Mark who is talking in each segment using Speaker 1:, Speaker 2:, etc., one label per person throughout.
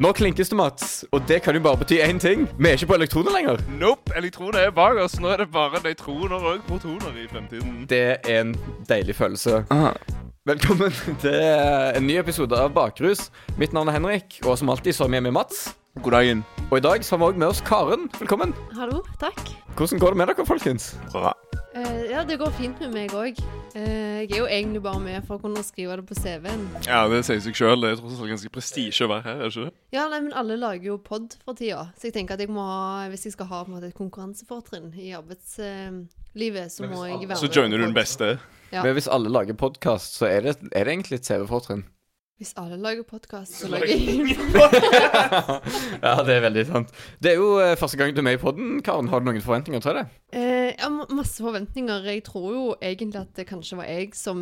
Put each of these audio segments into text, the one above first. Speaker 1: Nå klinkes det, Mats, og det kan jo bare bety én ting. Vi er ikke på elektroner lenger.
Speaker 2: Nope, elektroner er bak oss. Nå er det bare nøytroner og protoner i fremtiden.
Speaker 1: Det er en deilig følelse. Velkommen til eh, en ny episode av Bakrus. Mitt navn er Henrik, og som alltid så er vi hjemme med Mats.
Speaker 2: God dagen.
Speaker 1: Og i dag så har vi òg med oss Karen. Velkommen.
Speaker 3: Hallo, takk.
Speaker 1: Hvordan går det med dere, folkens?
Speaker 2: Bra.
Speaker 3: Eh, ja, det går fint med meg òg. jeg er jo egentlig bare med for å kunne skrive det på CV-en.
Speaker 2: Ja, det sier seg sjøl. Det er tross alt ganske prestisje å være her, er det ikke det?
Speaker 3: Ja, nei, men alle lager jo pod for tida, så jeg tenker at jeg må ha, hvis jeg skal ha på en måte, et konkurransefortrinn i arbeidslivet, så må jeg være med.
Speaker 2: Så joiner du
Speaker 3: på
Speaker 2: den
Speaker 3: pod.
Speaker 2: beste.
Speaker 3: Ja.
Speaker 1: Men hvis alle lager podkast, så er det, er det egentlig et CV-fortrinn.
Speaker 3: Hvis alle lager podkast, så lager jeg
Speaker 1: ja, det er veldig sant. Det er jo eh, første gang du er med i podden, Karen. Har du noen forventninger til det?
Speaker 3: Eh, ja, ma- masse forventninger. Jeg tror jo egentlig at det kanskje var jeg som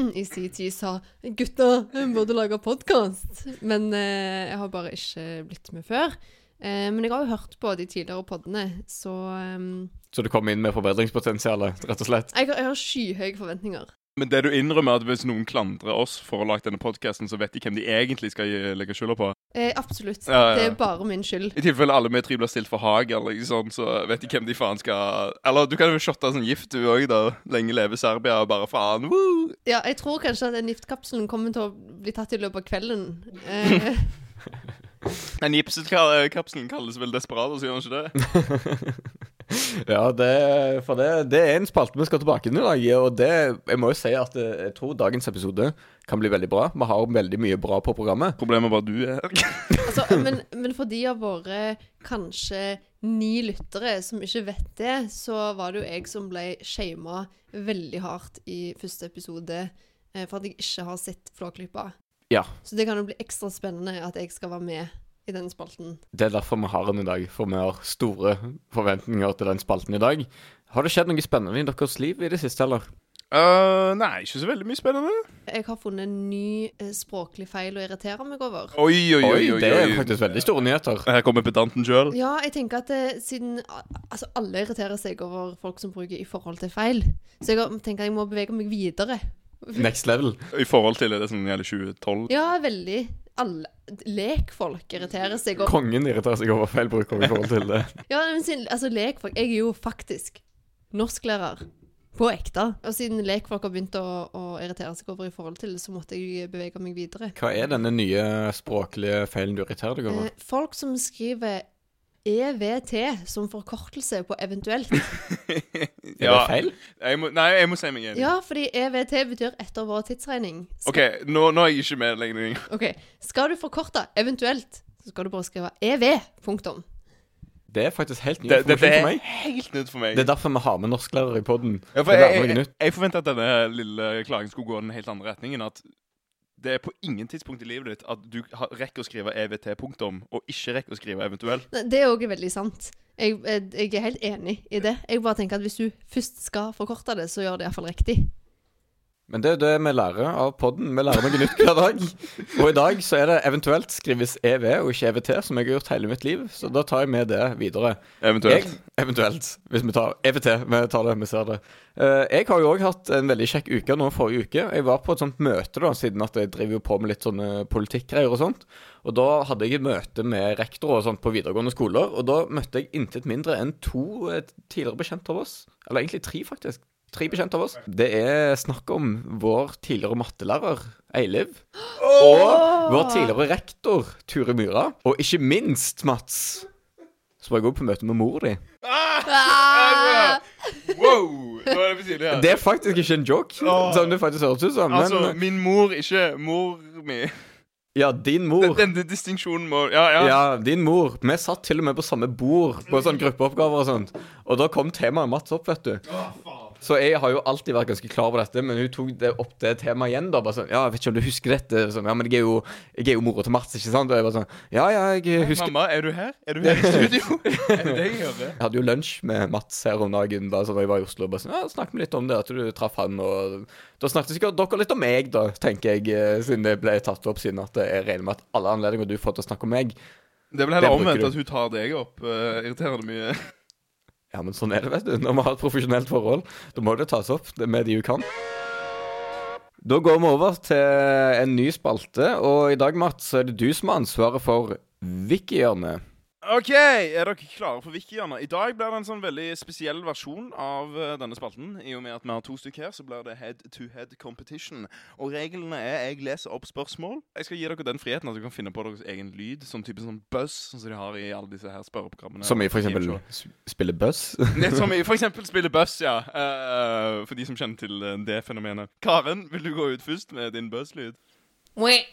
Speaker 3: i sin tid sa 'Gutta, vi burde lage podkast'. Men eh, jeg har bare ikke blitt med før. Eh, men jeg har jo hørt på de tidligere podene, så ehm,
Speaker 1: Så du kommer inn med forbedringspotensialet, rett og slett?
Speaker 3: jeg, har, jeg har skyhøye forventninger.
Speaker 2: Men det du innrømmer, er at hvis noen klandrer oss for å ha lagt denne podkasten, så vet de hvem de egentlig skal gi- legge skylda på.
Speaker 3: Eh, absolutt.
Speaker 2: Ja, ja, ja.
Speaker 3: Det er bare min skyld.
Speaker 2: I tilfelle alle vi tre blir stilt for hag, eller liksom, så vet de hvem de faen skal Eller du kan jo shotte sånn gift, du òg, da. Lenge leve Serbia, og bare faen. Woo!
Speaker 3: Ja, jeg tror kanskje at den giftkapselen kommer til å bli tatt i løpet av kvelden. Eh,
Speaker 2: Den gipsekapselen kalles vel Desperados, gjør den ikke det?
Speaker 1: Ja, det, for det, det er en spalte vi skal tilbake til i dag. Og det, jeg må jo si at eh, jeg tror dagens episode kan bli veldig bra. Vi har veldig mye bra på programmet.
Speaker 2: Problemet er bare du er her.
Speaker 3: Altså, men, men for de av våre kanskje ni lyttere som ikke vet det, så var det jo jeg som ble shama veldig hardt i første episode eh, for at jeg ikke har sett Flåklypa.
Speaker 1: Ja.
Speaker 3: Så det kan jo bli ekstra spennende at jeg skal være med i den spalten.
Speaker 1: Det er derfor vi har den i dag, for vi har store forventninger til den spalten i dag. Har det skjedd noe spennende i deres liv i det siste, eller?
Speaker 2: Eh, nei, ikke så veldig mye spennende.
Speaker 3: Jeg har funnet en ny eh, språklig feil å irritere meg over.
Speaker 2: Oi, oi, oi. oi,
Speaker 1: det er
Speaker 2: oi.
Speaker 1: faktisk veldig store nyheter.
Speaker 2: Her kommer pedanten sjøl.
Speaker 3: Ja, jeg tenker at eh, siden al- Altså, alle irriterer seg over folk som bruker i forhold til feil, så jeg har- tenker at jeg må bevege meg videre.
Speaker 1: Next level.
Speaker 2: I forhold til det som gjelder 2012.
Speaker 3: Ja, veldig. Alle, lekfolk irriterer seg. Og,
Speaker 1: Kongen irriterer seg over feilbruker i forhold til det.
Speaker 3: ja, men siden, altså lekfolk, Jeg er jo faktisk norsklærer. På ekte. Og siden lekfolk har begynt å, å irritere seg over i forhold til det, så måtte jeg bevege meg videre.
Speaker 1: Hva er denne nye språklige feilen du irriterer deg over?
Speaker 3: Eh, folk som skriver EVT som forkortelse på eventuelt.
Speaker 1: Er det feil?
Speaker 2: Jeg må, nei, jeg må si meg enig.
Speaker 3: Ja, fordi EVT betyr etter vår tidsregning. Skal,
Speaker 2: OK, nå, nå er jeg ikke med lenger.
Speaker 3: ok. Skal du forkorte eventuelt, så skal du bare skrive EV. Punktum.
Speaker 1: Det er faktisk helt ny
Speaker 2: Det- Dette
Speaker 1: informasjon
Speaker 2: er
Speaker 1: for meg.
Speaker 2: helt nytt for meg.
Speaker 1: Det er derfor vi har med norsklærere i poden.
Speaker 2: Ja, for
Speaker 1: Det
Speaker 2: jeg
Speaker 1: lærer noe
Speaker 2: jeg, jeg,
Speaker 1: nytt.
Speaker 2: forventa at denne lille klagen skulle gå i den helt andre retningen. At det er på ingen tidspunkt i livet ditt at du har- rekker å skrive EVT punktum, og ikke rekker å skrive eventuelt.
Speaker 3: Nei, Det er òg veldig sant. Jeg, jeg, jeg er helt enig i det. Jeg bare tenker at hvis du først skal forkorte det, så gjør det iallfall riktig.
Speaker 1: Men det er jo det vi lærer av poden. Vi lærer noe nytt hver dag. Og i dag så er det eventuelt skrives EV og ikke EVT, som jeg har gjort hele mitt liv. Så da tar jeg med det videre.
Speaker 2: Eventuelt.
Speaker 1: Jeg, eventuelt. Hvis vi tar EVT. Vi tar det, vi ser det. Eh, jeg har jo òg hatt en veldig kjekk uke nå forrige uke. Jeg var på et sånt møte, da, siden at jeg driver jo på med litt sånne politikkgreier og sånt. Og da hadde jeg et møte med rektor og sånt på videregående skoler, og da møtte jeg intet mindre enn to eh, tidligere bekjente av oss. Eller egentlig tre, faktisk. Tre bekjente av oss. Det er snakk om vår tidligere mattelærer, Eiliv. Og vår tidligere rektor, Ture Myra. Og ikke minst, Mats, så var jeg òg på møte med mor di.
Speaker 3: Ah!
Speaker 2: Wow! Nå er det på tide.
Speaker 1: Det er faktisk ikke en joke,
Speaker 2: Åh.
Speaker 1: som det faktisk høres ut som. Men
Speaker 2: Altså, min mor, ikke mor mi.
Speaker 1: ja, din mor.
Speaker 2: Den- Denne distinksjonen må Ja, ja.
Speaker 1: Ja, din mor. Vi satt til og med på samme bord på sånn gruppeoppgaver og sånt. Og da kom temaet Mats opp, vet du. Så jeg har jo alltid vært ganske klar over dette, men hun tok det opp det temaet igjen. da, bare sånn, ja, jeg vet ikke om du husker dette, sånn, ja, men jeg er jo, jeg er jo mora til Mats, ikke sant? Og jeg bare sånn, ja, ja, jeg husker
Speaker 2: Mamma, er du her? Er du her i studio? er det det jeg hører?
Speaker 1: Jeg hadde jo lunsj med Mats her om dagen da sånn, da jeg var i Oslo. Bare sånn, ja, snakket vi litt om det, at du traff han, og da snakket sikkert dere litt om meg, da, tenker jeg, eh, siden det ble tatt opp, siden at jeg regner med at alle anledninger du får til å snakke om meg.
Speaker 2: Det er vel heller
Speaker 1: Det bruker
Speaker 2: omvendt
Speaker 1: du.
Speaker 2: at hun tar deg opp. eh, irriterende mye.
Speaker 1: Ja, men sånn er det, vet du. Når vi har et profesjonelt forhold, da må det tas opp med de du kan. Da går vi over til en ny spalte, og i dag, Mats, så er det du som har ansvaret for Wiki-hjørnet.
Speaker 2: OK, er dere klare for Wiki-hjørnet? I dag blir det en sånn veldig spesiell versjon av eh, denne spalten. I og med at vi har to stykker her, så blir det head-to-head competition. Og reglene er jeg leser opp spørsmål. Jeg skal gi dere den friheten at dere kan finne på deres egen lyd. Sånn type sånn buzz, sånn som de har i alle disse her spørreprogrammene.
Speaker 1: Som i for
Speaker 2: og
Speaker 1: eksempel
Speaker 2: gameshow.
Speaker 1: sp- spille buzz.
Speaker 2: Det er Som i for eksempel spille buzz, ja. Eh, for de som kjenner til eh, det fenomenet. Karen, vil du gå ut først med din buzz-lyd?
Speaker 3: Mwah.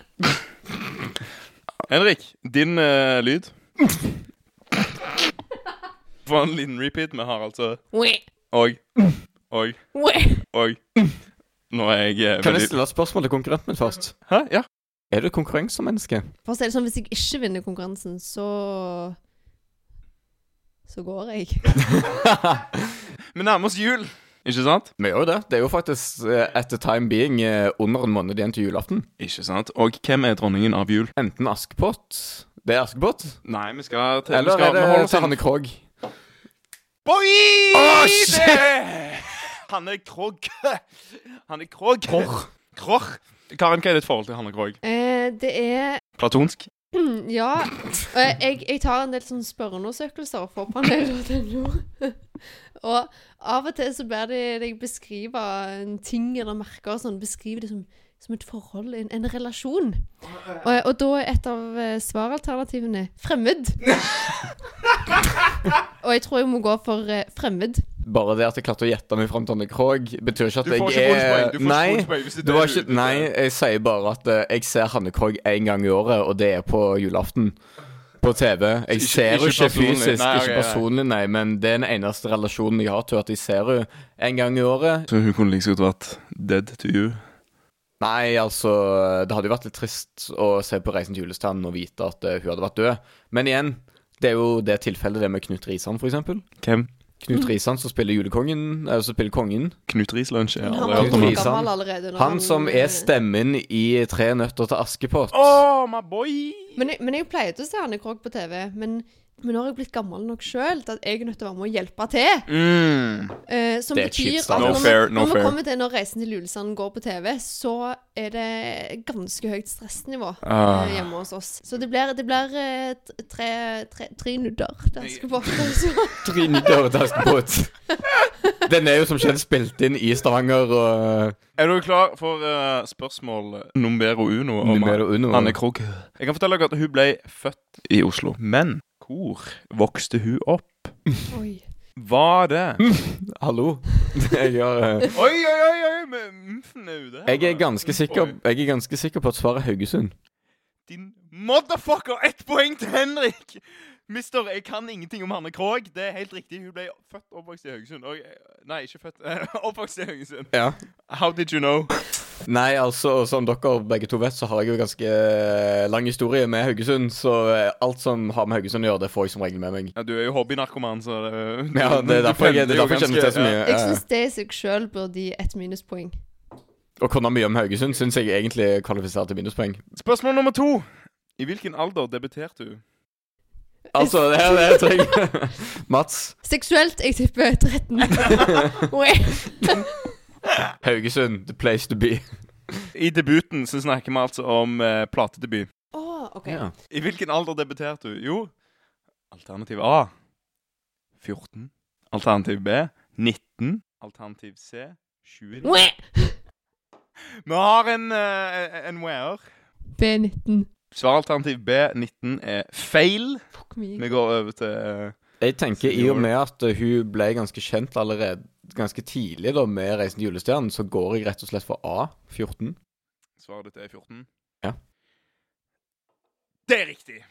Speaker 2: Henrik, din eh, lyd? Få en liten repeat. Vi har altså
Speaker 3: Mwah.
Speaker 2: Og, og,
Speaker 3: Mwah.
Speaker 2: og Nå er jeg eh,
Speaker 1: Kan jeg
Speaker 2: veldig
Speaker 1: stille et spørsmål til konkurrenten min først?
Speaker 2: Hæ? Ja.
Speaker 1: Er du et konkurransemenneske?
Speaker 3: For å si det sånn, hvis jeg ikke vinner konkurransen, så Så går jeg.
Speaker 2: Vi nærmer oss jul, ikke sant?
Speaker 1: Vi gjør jo det. Det er jo faktisk eh, at the time being eh, under en måned igjen til julaften.
Speaker 2: Ikke sant? Og hvem er dronningen av jul?
Speaker 1: Enten Askepott Det er Askepott.
Speaker 2: Nei, vi skal til vi
Speaker 1: Eller
Speaker 2: skal,
Speaker 1: er
Speaker 2: vi holder
Speaker 1: det
Speaker 2: oss
Speaker 1: til
Speaker 2: til
Speaker 1: Hanne Krogh?
Speaker 2: Boy!
Speaker 1: Å, shit!
Speaker 2: Hanne Krogh. Hanne Krogh.
Speaker 1: Krogh.
Speaker 2: Krogh. Karen, hva er ditt forhold til Hanne Krogh?
Speaker 3: Eh, det er
Speaker 2: Platonsk?
Speaker 3: Ja. Og jeg- jeg, jeg tar en del sånne spørreundersøkelser for panelet.no. Og av og til så ber de deg beskrive en ting eller merker og sånn. Beskriv det som, som et forhold, en, en relasjon. Og, og da er et av eh, svaralternativene fremmed. og jeg tror jeg må gå for eh, fremmed.
Speaker 1: Bare det at jeg klarte å gjette meg fram til Hanne Krogh, betyr ikke at
Speaker 2: Du får
Speaker 1: jeg
Speaker 2: ikke bonuspoeng. Du får
Speaker 1: er
Speaker 2: ikke
Speaker 1: Nei.
Speaker 2: bonuspoeng hvis det er
Speaker 1: Det var
Speaker 2: du-
Speaker 1: ikke, nei, jeg sier bare at eh, jeg ser Hanne Krogh én gang i året, og det er på julaften. På TV. Jeg
Speaker 2: Ikke-
Speaker 1: ser henne
Speaker 2: ikke
Speaker 1: ikke
Speaker 2: personlig.
Speaker 1: fysisk,
Speaker 2: Nei, ok,
Speaker 1: ikke
Speaker 2: nei.
Speaker 1: personlig, nei, men det er den eneste relasjonen jeg har til at jeg ser henne en gang i året.
Speaker 2: Så hun kunne like så godt vært dead to you.
Speaker 1: Nei, altså Det hadde jo vært litt trist å se på Reisen til julestjernen og vite at eh, hun hadde vært død. Men igjen, det er jo det tilfellet det med Knut Risan, for eksempel.
Speaker 2: Hvem?
Speaker 1: Knut Risan som spiller julekongen, eller som spiller kongen.
Speaker 2: Knut Riis-lunsj? Jeg
Speaker 1: er
Speaker 2: har aldri
Speaker 3: Han var
Speaker 2: hørt
Speaker 1: Knut
Speaker 2: om
Speaker 3: jo
Speaker 2: han.
Speaker 1: Riis.
Speaker 3: gammel allerede. når
Speaker 1: Han som er
Speaker 3: eh,
Speaker 1: stemmen i Tre nøtter til Askepott.
Speaker 2: Oh, my boy!
Speaker 3: Men, jeg- men jeg pleide å se Hanne Krogh på TV. Men, men nå har jeg blitt gammel nok sjøl til at jeg er nødt til å være med og hjelpe til.
Speaker 2: Mm.
Speaker 3: Eh, som
Speaker 1: Det er
Speaker 3: betyr
Speaker 1: kjipt,
Speaker 3: at
Speaker 1: da.
Speaker 2: No
Speaker 3: når, vi-
Speaker 2: fair, no
Speaker 3: når vi
Speaker 2: fair.
Speaker 3: kommer til når Reisen til Lulesand går på TV, så er det ganske høyt stressnivå
Speaker 2: Ah.
Speaker 3: eh, hjemme hos oss. Så det blir, det blir eh, t- tre, tre, tre nudder der skal altså. på. Så,
Speaker 1: Trine Døhre til Askepott. Den er jo som kjent spilt inn i Stavanger og eh,
Speaker 2: Er du klar for eh, spørsmål numbero uno om
Speaker 1: Numero uno.
Speaker 2: Anne Krogh? Jeg kan fortelle dere at hun ble født i Oslo. Men hvor vokste hun opp?
Speaker 3: oi.
Speaker 2: Var det
Speaker 1: Hallo. Jeg, har, eh,
Speaker 2: Oi, oi, oi! oi med Mfen er ute. her.
Speaker 1: jeg, er ganske sikker, jeg er ganske sikker på at svaret er Haugesund.
Speaker 2: Din motherfucker! Ett poeng til Henrik! Mister, jeg kan ingenting om Hanne Krogh. Det er helt riktig. Hun ble født og oppvokst i Haugesund. Og, eh, nei, ikke født. oppvokst i Haugesund.
Speaker 1: Ja.
Speaker 2: How did you know?
Speaker 1: Nei, altså, som dere begge to vet, så har jeg jo ganske eh, lang historie med Haugesund, så eh, alt som har med Haugesund å gjøre, det får jeg som regel med meg.
Speaker 2: Ja, Du er jo hobbynarkoman, så eh,
Speaker 1: Ja,
Speaker 2: du-
Speaker 1: Det er
Speaker 2: du
Speaker 1: derfor jeg,
Speaker 2: pendler
Speaker 1: det er
Speaker 2: jo
Speaker 1: derfor jeg kjenner
Speaker 2: ganske-
Speaker 1: til så
Speaker 2: ja.
Speaker 1: mye.
Speaker 3: Jeg
Speaker 1: eh,
Speaker 3: syns det i seg sjøl burde gi ett minuspoeng.
Speaker 1: Å kunne mye om Haugesund syns jeg egentlig kvalifiserer til minuspoeng.
Speaker 2: Spørsmål nummer to. I hvilken alder debuterte hun?
Speaker 1: Altså, det er det jeg trenger. Mats,
Speaker 3: Seksuelt, jeg tipper 13. Oi.
Speaker 1: Haugesund, the place to be.
Speaker 2: I debuten så snakker vi altså om eh, platedebut.
Speaker 3: Å, OK.
Speaker 1: Ja.
Speaker 2: I hvilken alder debuterte hun? Jo, alternativ A 14. Alternativ B 19. Alternativ C 29.
Speaker 3: Mwah.
Speaker 2: Vi har en, uh, en wearer.
Speaker 3: B19.
Speaker 2: Svaralternativ B 19 er feil.
Speaker 3: Fuck me.
Speaker 2: Vi går over til eh,
Speaker 1: Jeg tenker i
Speaker 2: Senior.
Speaker 1: og med at eh, hun ble ganske kjent allerede ganske tidlig da med 'Reisen til julestjernen', så går jeg rett og slett for A. 14.
Speaker 2: Svaret ditt er 14?
Speaker 1: Ja.
Speaker 2: Det er riktig.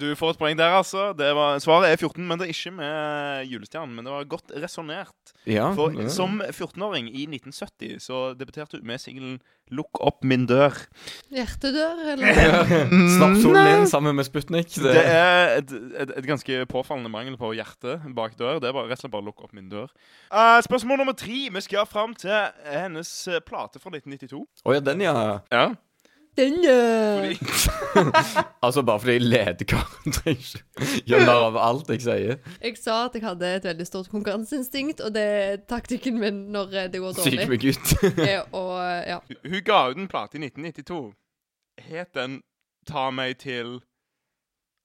Speaker 2: Du får et poeng der, altså. Det var, svaret er 14, men det er ikke med julestjernen. Men det var godt resonnert.
Speaker 1: Ja.
Speaker 2: For
Speaker 1: ja.
Speaker 2: som 14-åring i 1970 så debuterte hun med singelen 'Lukk opp min dør'.
Speaker 3: Hjertedør, eller?
Speaker 1: Slapp solen inn sammen med Sputnik.
Speaker 2: Det er et, et, et ganske påfallende mangel på hjerte bak dør. Det er bare, rett og slett bare å lukke opp min dør. Eh, spørsmål nummer tre. Vi skal fram til hennes eh, plate fra 1992.
Speaker 1: Å ja, den, ja.
Speaker 2: Ja.
Speaker 3: Den, eh. ja.
Speaker 2: Fordi
Speaker 1: Altså, bare fordi ledekaren trenger ikke gjøre narr av alt jeg sier.
Speaker 3: Jeg sa at jeg hadde et veldig stort konkurranseinstinkt, og det er taktikken min når eh, det går
Speaker 1: Syk
Speaker 3: dårlig.
Speaker 1: meg ut.
Speaker 3: Er å, ja.
Speaker 2: Hun ga ut en plate i 1992. Het den Ta meg til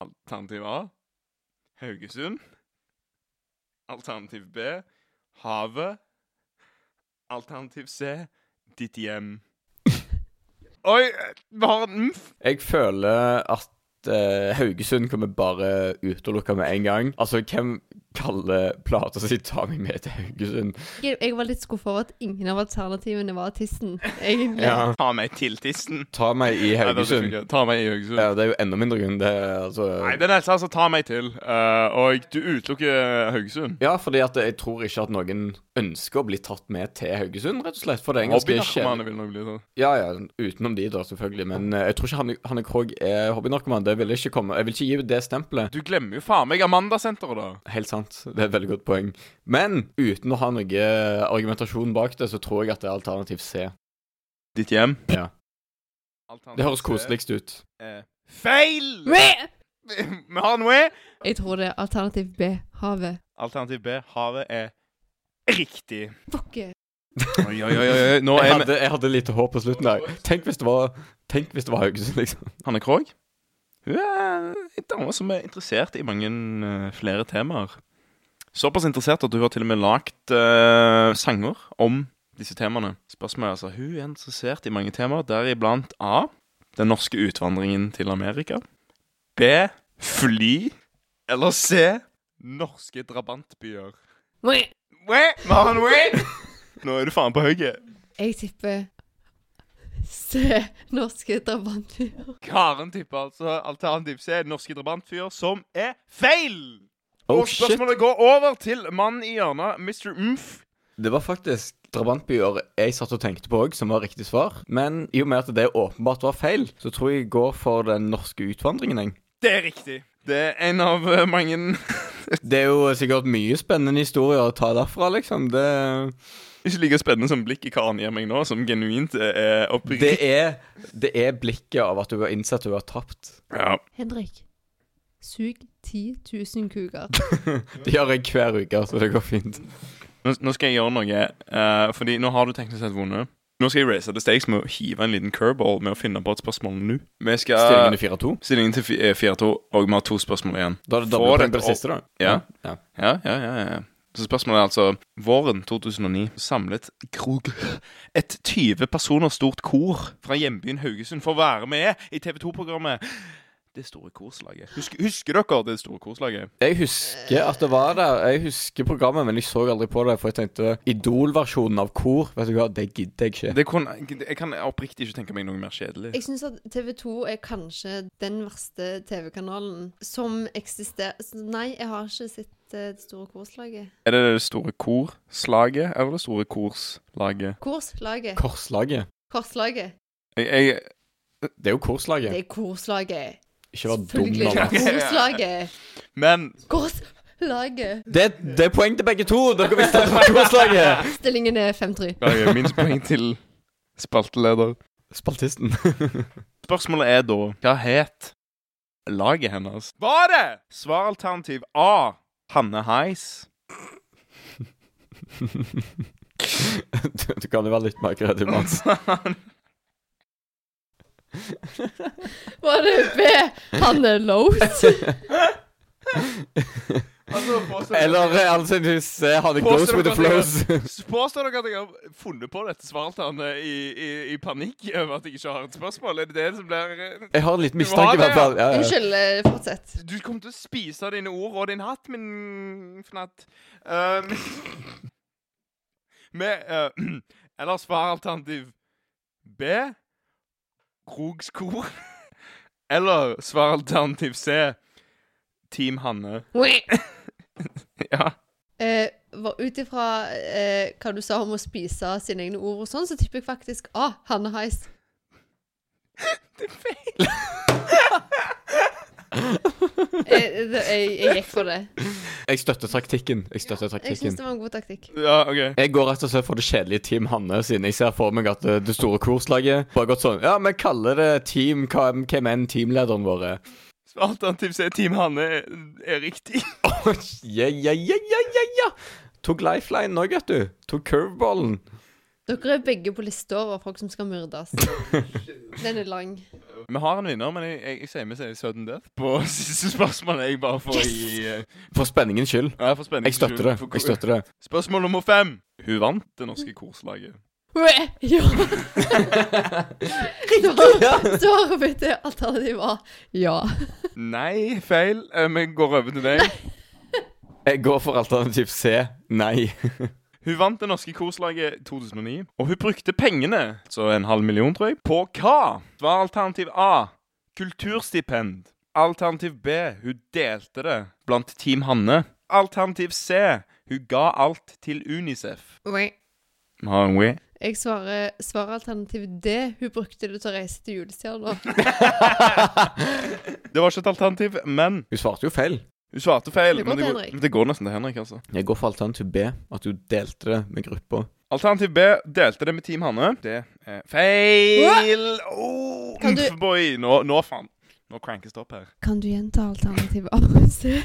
Speaker 2: Alternativ A Haugesund. Alternativ B Havet. Alternativ C Ditt hjem. Oi, vi har en mf.
Speaker 1: Jeg føler at eh, Haugesund kommer bare utelukka med en gang. Altså, hvem kaller plata si 'Ta meg med til Haugesund'?
Speaker 3: Jeg, jeg var litt skuffa over at ingen av alternativene var tissen, egentlig.
Speaker 1: Ja.
Speaker 2: Ta meg til tissen.
Speaker 1: Ta meg i
Speaker 2: Nei, det
Speaker 1: Haugesund.
Speaker 2: funker. Ta meg i Haugesund.
Speaker 1: Ja, det er jo enda mindre grunn. Det er altså
Speaker 2: Nei, den helsa altså ta meg til. eh, og du utelukker Haugesund.
Speaker 1: Ja, fordi at jeg tror ikke at noen ønsker å bli tatt med til Haugesund, rett og slett. For det er en ganske kjedelig
Speaker 2: Hobbynarkomane vil nok bli sånn.
Speaker 1: Ja, ja, utenom de, da, selvfølgelig. Men eh, jeg tror ikke Hanne- Hanne Krogh er hobbynarkoman. Det vil jeg ikke komme Jeg vil ikke gi det stempelet.
Speaker 2: Du glemmer jo faen meg Amandasenteret, da.
Speaker 1: Helt sant. Det er et veldig godt poeng. Men uten å ha noe argumentasjon bak det, så tror jeg at det er alternativ C.
Speaker 2: Ditt hjem.
Speaker 1: Ja. Det høres koseligst ut.
Speaker 2: Feil!
Speaker 3: Mæ!
Speaker 2: Vi har noe.
Speaker 3: Jeg tror det er alternativ B. Havet.
Speaker 2: Alternativ B, havet er riktig.
Speaker 3: Fuck.
Speaker 2: Oi, oi, oi, oi. Nå
Speaker 1: Jeg
Speaker 2: er vi
Speaker 1: hadde, jeg hadde lite håp på slutten der. Tenk hvis det var Tenk hvis det var Haugesund, liksom.
Speaker 2: Hanne Krogh. Hun er en dame som er interessert i mange eh, flere temaer. Såpass interessert at hun har til og med lagd eh, sanger om disse temaene. Spørsmålet er altså Hun er interessert i mange temaer, deriblant A. Den norske utvandringen til Amerika. B. Fly. Eller C. Norske drabantbyer.
Speaker 3: Mæ!
Speaker 2: Wæ, Marlon Wayne! Nå er du faen på hugget.
Speaker 3: Jeg tipper C. Norske drabantbyer.
Speaker 2: Karen tipper altså alternativ C, norske drabantfyr, som er feil!
Speaker 1: Oh
Speaker 2: og
Speaker 1: shit!
Speaker 2: spørsmålet går over til mannen i hjørnet, Mr. Umf.
Speaker 1: Det var faktisk drabantbyer jeg satt og tenkte på òg, som var riktig svar. Men i og med at det åpenbart var feil, så tror jeg jeg går for den norske utvandringen, jeg.
Speaker 2: Det er riktig. Det er en av eh, mange
Speaker 1: Det er jo sikkert mye spennende historier å ta derfra, liksom. Det,
Speaker 2: ikke like spennende som blikket Karen gir meg nå, som genuint eh, er
Speaker 1: det,
Speaker 2: oppriktig.
Speaker 1: er, det er blikket av at du har innsett at du har tapt.
Speaker 2: Ja.
Speaker 3: Henrik. Sug 10 000 kuker.
Speaker 1: Det gjør jeg hver uke, så det går fint.
Speaker 2: Nå, nå skal jeg gjøre noe, eh, fordi nå har du teknisk sett vunnet. Nå skal jeg race the stakes med å hive en liten curveball med å finne på et spørsmål nå. Vi skal...
Speaker 1: Stillingen er 4-2.
Speaker 2: Stillingen til fi- eh, 4-2, og vi har to spørsmål igjen.
Speaker 1: Da er det
Speaker 2: Få
Speaker 1: dobbeltpoeng
Speaker 2: dette
Speaker 1: på det siste, da.
Speaker 2: Ja.
Speaker 1: ja.
Speaker 2: Ja, ja, ja, ja. Så spørsmålet er altså Våren 2009 samlet Krog et 20 personer stort kor fra hjembyen Haugesund for å være med i TV 2-programmet Det store korslaget. Husker, husker dere det store korslaget?
Speaker 1: Jeg husker at det var der. Jeg husker programmet, men jeg så aldri på det. For jeg tenkte Idol-versjonen av kor, vet du hva, det gidder jeg ikke.
Speaker 2: Det kunne- jeg kan oppriktig ikke tenke meg noe mer kjedelig.
Speaker 3: Jeg syns at TV 2 er kanskje den verste TV-kanalen som eksisterer Så Nei, jeg har ikke sett eh, Det store korslaget.
Speaker 2: Er det det store korslaget eller det store korslaget?
Speaker 3: Korslaget.
Speaker 1: Korslaget.
Speaker 3: Korslaget.
Speaker 2: Jeg, jeg,
Speaker 1: Det er jo
Speaker 3: Det
Speaker 1: korslaget.
Speaker 3: er korslaget.
Speaker 1: Ikke vær dum,
Speaker 3: Selvfølgelig
Speaker 1: Nanna.
Speaker 3: er det korslaget.
Speaker 2: men
Speaker 3: Korslaget.
Speaker 1: Det, det er poeng til begge to! Dere visste at det var korslaget!
Speaker 3: Stillingen er 5-3.
Speaker 2: ja, Minst poeng til spalteleder.
Speaker 1: Spaltisten.
Speaker 2: Spørsmålet er da Hva het laget hennes? Var det svaralternativ A Hanne Heis?
Speaker 1: Du, du kan jo være litt mer kreativ, Mats.
Speaker 3: Var det B. Hanne Lows?
Speaker 2: Altså, påstår
Speaker 1: Eller eh, altså, du ser han det goes with the flows.
Speaker 2: Påstår dere at jeg har funnet på dette svaralternet i, i, i panikk over at jeg ikke har et spørsmål? Er det det som blir eh,
Speaker 1: Jeg har en liten
Speaker 2: Du har
Speaker 1: mistanke, i
Speaker 2: det,
Speaker 1: hvert fall. Ja, ja.
Speaker 3: Unnskyld, eh, fortsett.
Speaker 2: Du kommer til å spise dine ord og din hatt, min fnatt. Um, med eh, Eller svaralternativ B Krogs kor. Eller svaralternativ C Team Hanne. Ja.
Speaker 3: Eh, var- Ut ifra eh, hva du sa om å spise sine egne ord og sånn, så tipper jeg faktisk A. Hanne Heis.
Speaker 2: Det er feil.
Speaker 3: Eh, det- jeg, jeg gikk for det.
Speaker 1: Jeg støtter taktikken. Jeg støtter
Speaker 3: Jeg syns
Speaker 1: taktikken.
Speaker 3: det var en god taktikk.
Speaker 2: Ja, OK.
Speaker 1: Jeg går rett og slett for det kjedelige Team Hanne, siden jeg ser for meg at eh, det store korslaget bare gått sånn Ja, vi kaller det Team hva- Hvem enn teamlederen vår er.
Speaker 2: Svaralternativ C Team Hanne er, er riktig.
Speaker 1: Ja, ja, ja, ja, ja, ja. Tok lifeline òg, vet du. Tok curveballen.
Speaker 3: Dere er begge på lista over folk som skal myrdes. Den er lang.
Speaker 2: Vi har en vinner, men jeg, jeg, jeg sier vi sier sudden death på siste spørsmål. Jeg bare for yes! i eh,
Speaker 1: For spenningens skyld.
Speaker 2: ja, for spenning.
Speaker 1: Jeg støtter det. Jeg støtter det.
Speaker 2: Spørsmål nummer fem. Hun vant det norske korslaget.
Speaker 3: Uæ, Ja. Svar- Svaret mitt er alternativ A. Ja.
Speaker 2: Nei, feil. Eh, Vi går over til deg.
Speaker 1: Jeg går for alternativ C. Nei.
Speaker 2: Hun vant det norske korslaget 2009, og hun brukte pengene, så en halv million, tror jeg, på hva? Var alternativ A kulturstipend? Alternativ B hun delte det blant Team Hanne. Alternativ C hun ga alt til Unicef.
Speaker 3: Uæ.
Speaker 2: Vi har en we.
Speaker 3: Jeg svarer, svarer alternativ D. Hun brukte det til å reise til julestjerna.
Speaker 2: Det var ikke et alternativ, men
Speaker 1: Hun svarte jo feil.
Speaker 2: hun svarte feil.
Speaker 3: Det går
Speaker 2: men,
Speaker 3: til
Speaker 2: det går,
Speaker 3: Henrik.
Speaker 2: men det går nesten til Henrik, altså.
Speaker 1: Jeg går for alternativ B. At hun delte det med gruppa.
Speaker 2: Alternativ B delte det med Team Hanne. Det er feil. Oh,
Speaker 3: Kan du-
Speaker 2: boy. Nå, nå faen. Nå crankes det opp her.
Speaker 3: Kan du gjenta alternativ A og C?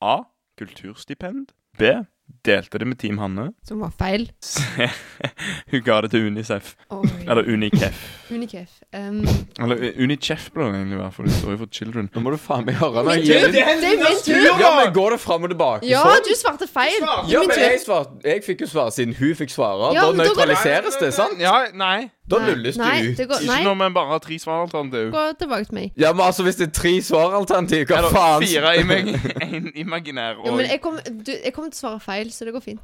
Speaker 2: A. Kulturstipend. B. Delte det med Team Hanne.
Speaker 3: Som var feil.
Speaker 2: C. Hun ga det til Unicef.
Speaker 3: Oi.
Speaker 2: Eller Unicef.
Speaker 3: Unikef. Um,
Speaker 2: Eller U- Unicef ble det egentlig være, for det står jo for Children.
Speaker 1: Nå må du faen meg høre når
Speaker 3: Min tur!
Speaker 1: jeg
Speaker 3: Det er min tur!
Speaker 1: Ja, men går det fram og tilbake?
Speaker 3: Ja,
Speaker 1: sånn?
Speaker 3: du svarte feil. Det
Speaker 1: Ja,
Speaker 3: er min
Speaker 1: men jeg,
Speaker 3: tur.
Speaker 1: svarte, jeg fikk jo svare siden hun fikk svare.
Speaker 3: Ja,
Speaker 1: da
Speaker 3: men da går det-
Speaker 1: nøytraliseres det, sant?
Speaker 2: Ja, nei.
Speaker 1: Da nulles
Speaker 3: nei,
Speaker 1: du ut.
Speaker 3: det går,
Speaker 2: Ikke
Speaker 3: nei,
Speaker 2: når vi bare har tre svaralternativ.
Speaker 3: gå tilbake til meg.
Speaker 1: Ja, men altså, hvis det er tre svaralternativ, hva
Speaker 2: Eller
Speaker 1: faen?
Speaker 2: fire imag en imaginær
Speaker 3: Jo,
Speaker 2: og
Speaker 3: men jeg kommer kom til å svare feil, så det går fint.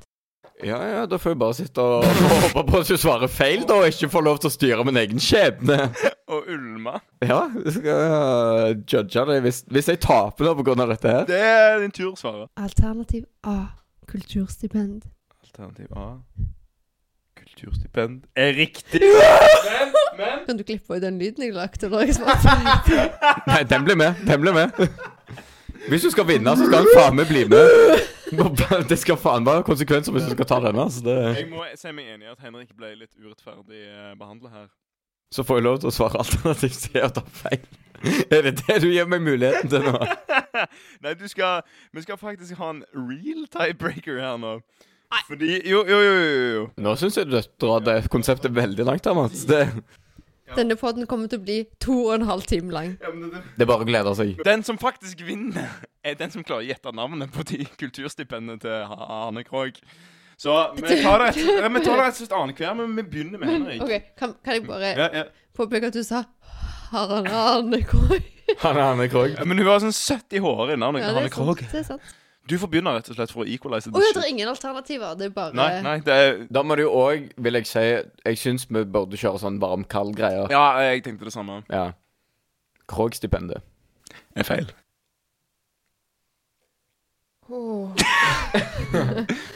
Speaker 1: Ja, ja, da får jeg bare sitte og håpe på at du svarer feil, da, og ikke får lov til å styre min egen skjebne.
Speaker 2: og Ulma.
Speaker 1: Ja, jeg skal øh, judge det hvis, hvis jeg taper da på grunn av dette her.
Speaker 2: Det er din tur, Svare.
Speaker 3: Alternativ A. Kulturstipend.
Speaker 2: Alternativ A. Kulturstipend er riktig.
Speaker 3: Kan du klippe ut den lyden jeg lagde når jeg svarte feil?
Speaker 1: Nei, den blir med. Den blir med. Hvis du skal vinne, så skal han faen meg bli med. Det skal faen være konsekvenser hvis du skal ta denne. Så, det,
Speaker 2: Jeg må si meg enig i at Henrik ble litt urettferdig behandla her.
Speaker 1: så får jeg lov til å svare alternativt C og ta feil. Er det det du gir meg muligheten til nå?
Speaker 2: Nei, du skal Vi skal faktisk ha en real tiebreaker her nå. Fordi Jo, jo, jo, jo. jo.
Speaker 1: Nå syns jeg du drar det konseptet veldig langt her, Mats. Det,
Speaker 3: Denne podden kommer til å bli to og en halv time lang.
Speaker 1: det er bare å glede seg.
Speaker 2: Den som faktisk vinner, er den som klarer å gjette navnet på de kulturstipendene til Ha- Arne Krogh. Så vi tar det et- ja, vi tar det rett og slett annenhver, men vi begynner med Henrik.
Speaker 3: Ok, Kan, kan jeg bare
Speaker 2: Ja, ja.
Speaker 3: påpeke at du sa Harald Arne Krogh?
Speaker 1: Han er Arne Krogh.
Speaker 2: Men hun har sånn 70 hår i navnet.
Speaker 3: Ja, det
Speaker 2: Arne
Speaker 3: er sant.
Speaker 2: Krogh.
Speaker 3: Det er sant.
Speaker 2: Du får begynne rett og slett for å equalize
Speaker 3: Å ja, det er ingen alternativer. Det er bare
Speaker 2: Nei, nei, det er
Speaker 1: Da må du òg, vil jeg si Jeg syns vi burde kjøre sånn varm-kald-greier.
Speaker 2: Ja, jeg tenkte det samme.
Speaker 1: Ja. Krogh-stipendet.
Speaker 2: Er feil.
Speaker 3: Åh.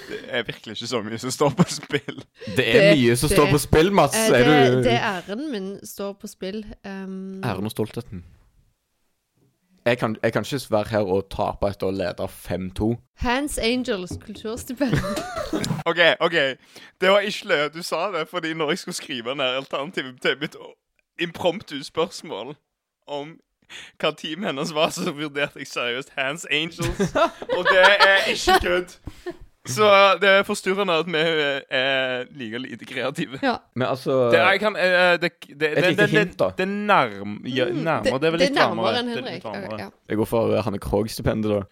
Speaker 2: Det er virkelig ikke så mye som står på spill.
Speaker 1: Det er
Speaker 3: Det-
Speaker 1: mye som
Speaker 3: det-
Speaker 1: står på spill, Mats.
Speaker 3: Eh,
Speaker 1: er
Speaker 3: det,
Speaker 1: du
Speaker 3: det æren min står på spill. Um,
Speaker 1: Æren og stoltheten. Jeg kan, jeg kan ikke være her og tape etter å lede 5-2.
Speaker 3: Hands Angels kulturstipend.
Speaker 2: OK, ok. Det var ikke løye at du sa det, fordi når jeg skulle skrive ned alternativet til mitt impromptu spørsmål om hva team hennes var, så vurderte jeg seriøst Hands Angels, og det er ikke kødd. Så det er forstyrrende at vi er like lite kreative.
Speaker 3: ja.
Speaker 1: Men altså
Speaker 2: Det, jeg kan, eh, det, det, det,
Speaker 1: Et
Speaker 2: det,
Speaker 1: lite
Speaker 2: det, det,
Speaker 1: hint, da.
Speaker 2: er nærm, ja, nærmere. Mm, Det er vel litt
Speaker 3: Mm, det er nærmere enn
Speaker 2: varmere. Det er
Speaker 3: Henrik.
Speaker 2: litt varmere.
Speaker 3: Ok, ja.
Speaker 1: Jeg går for eh, Hanne Krogh-stipendet,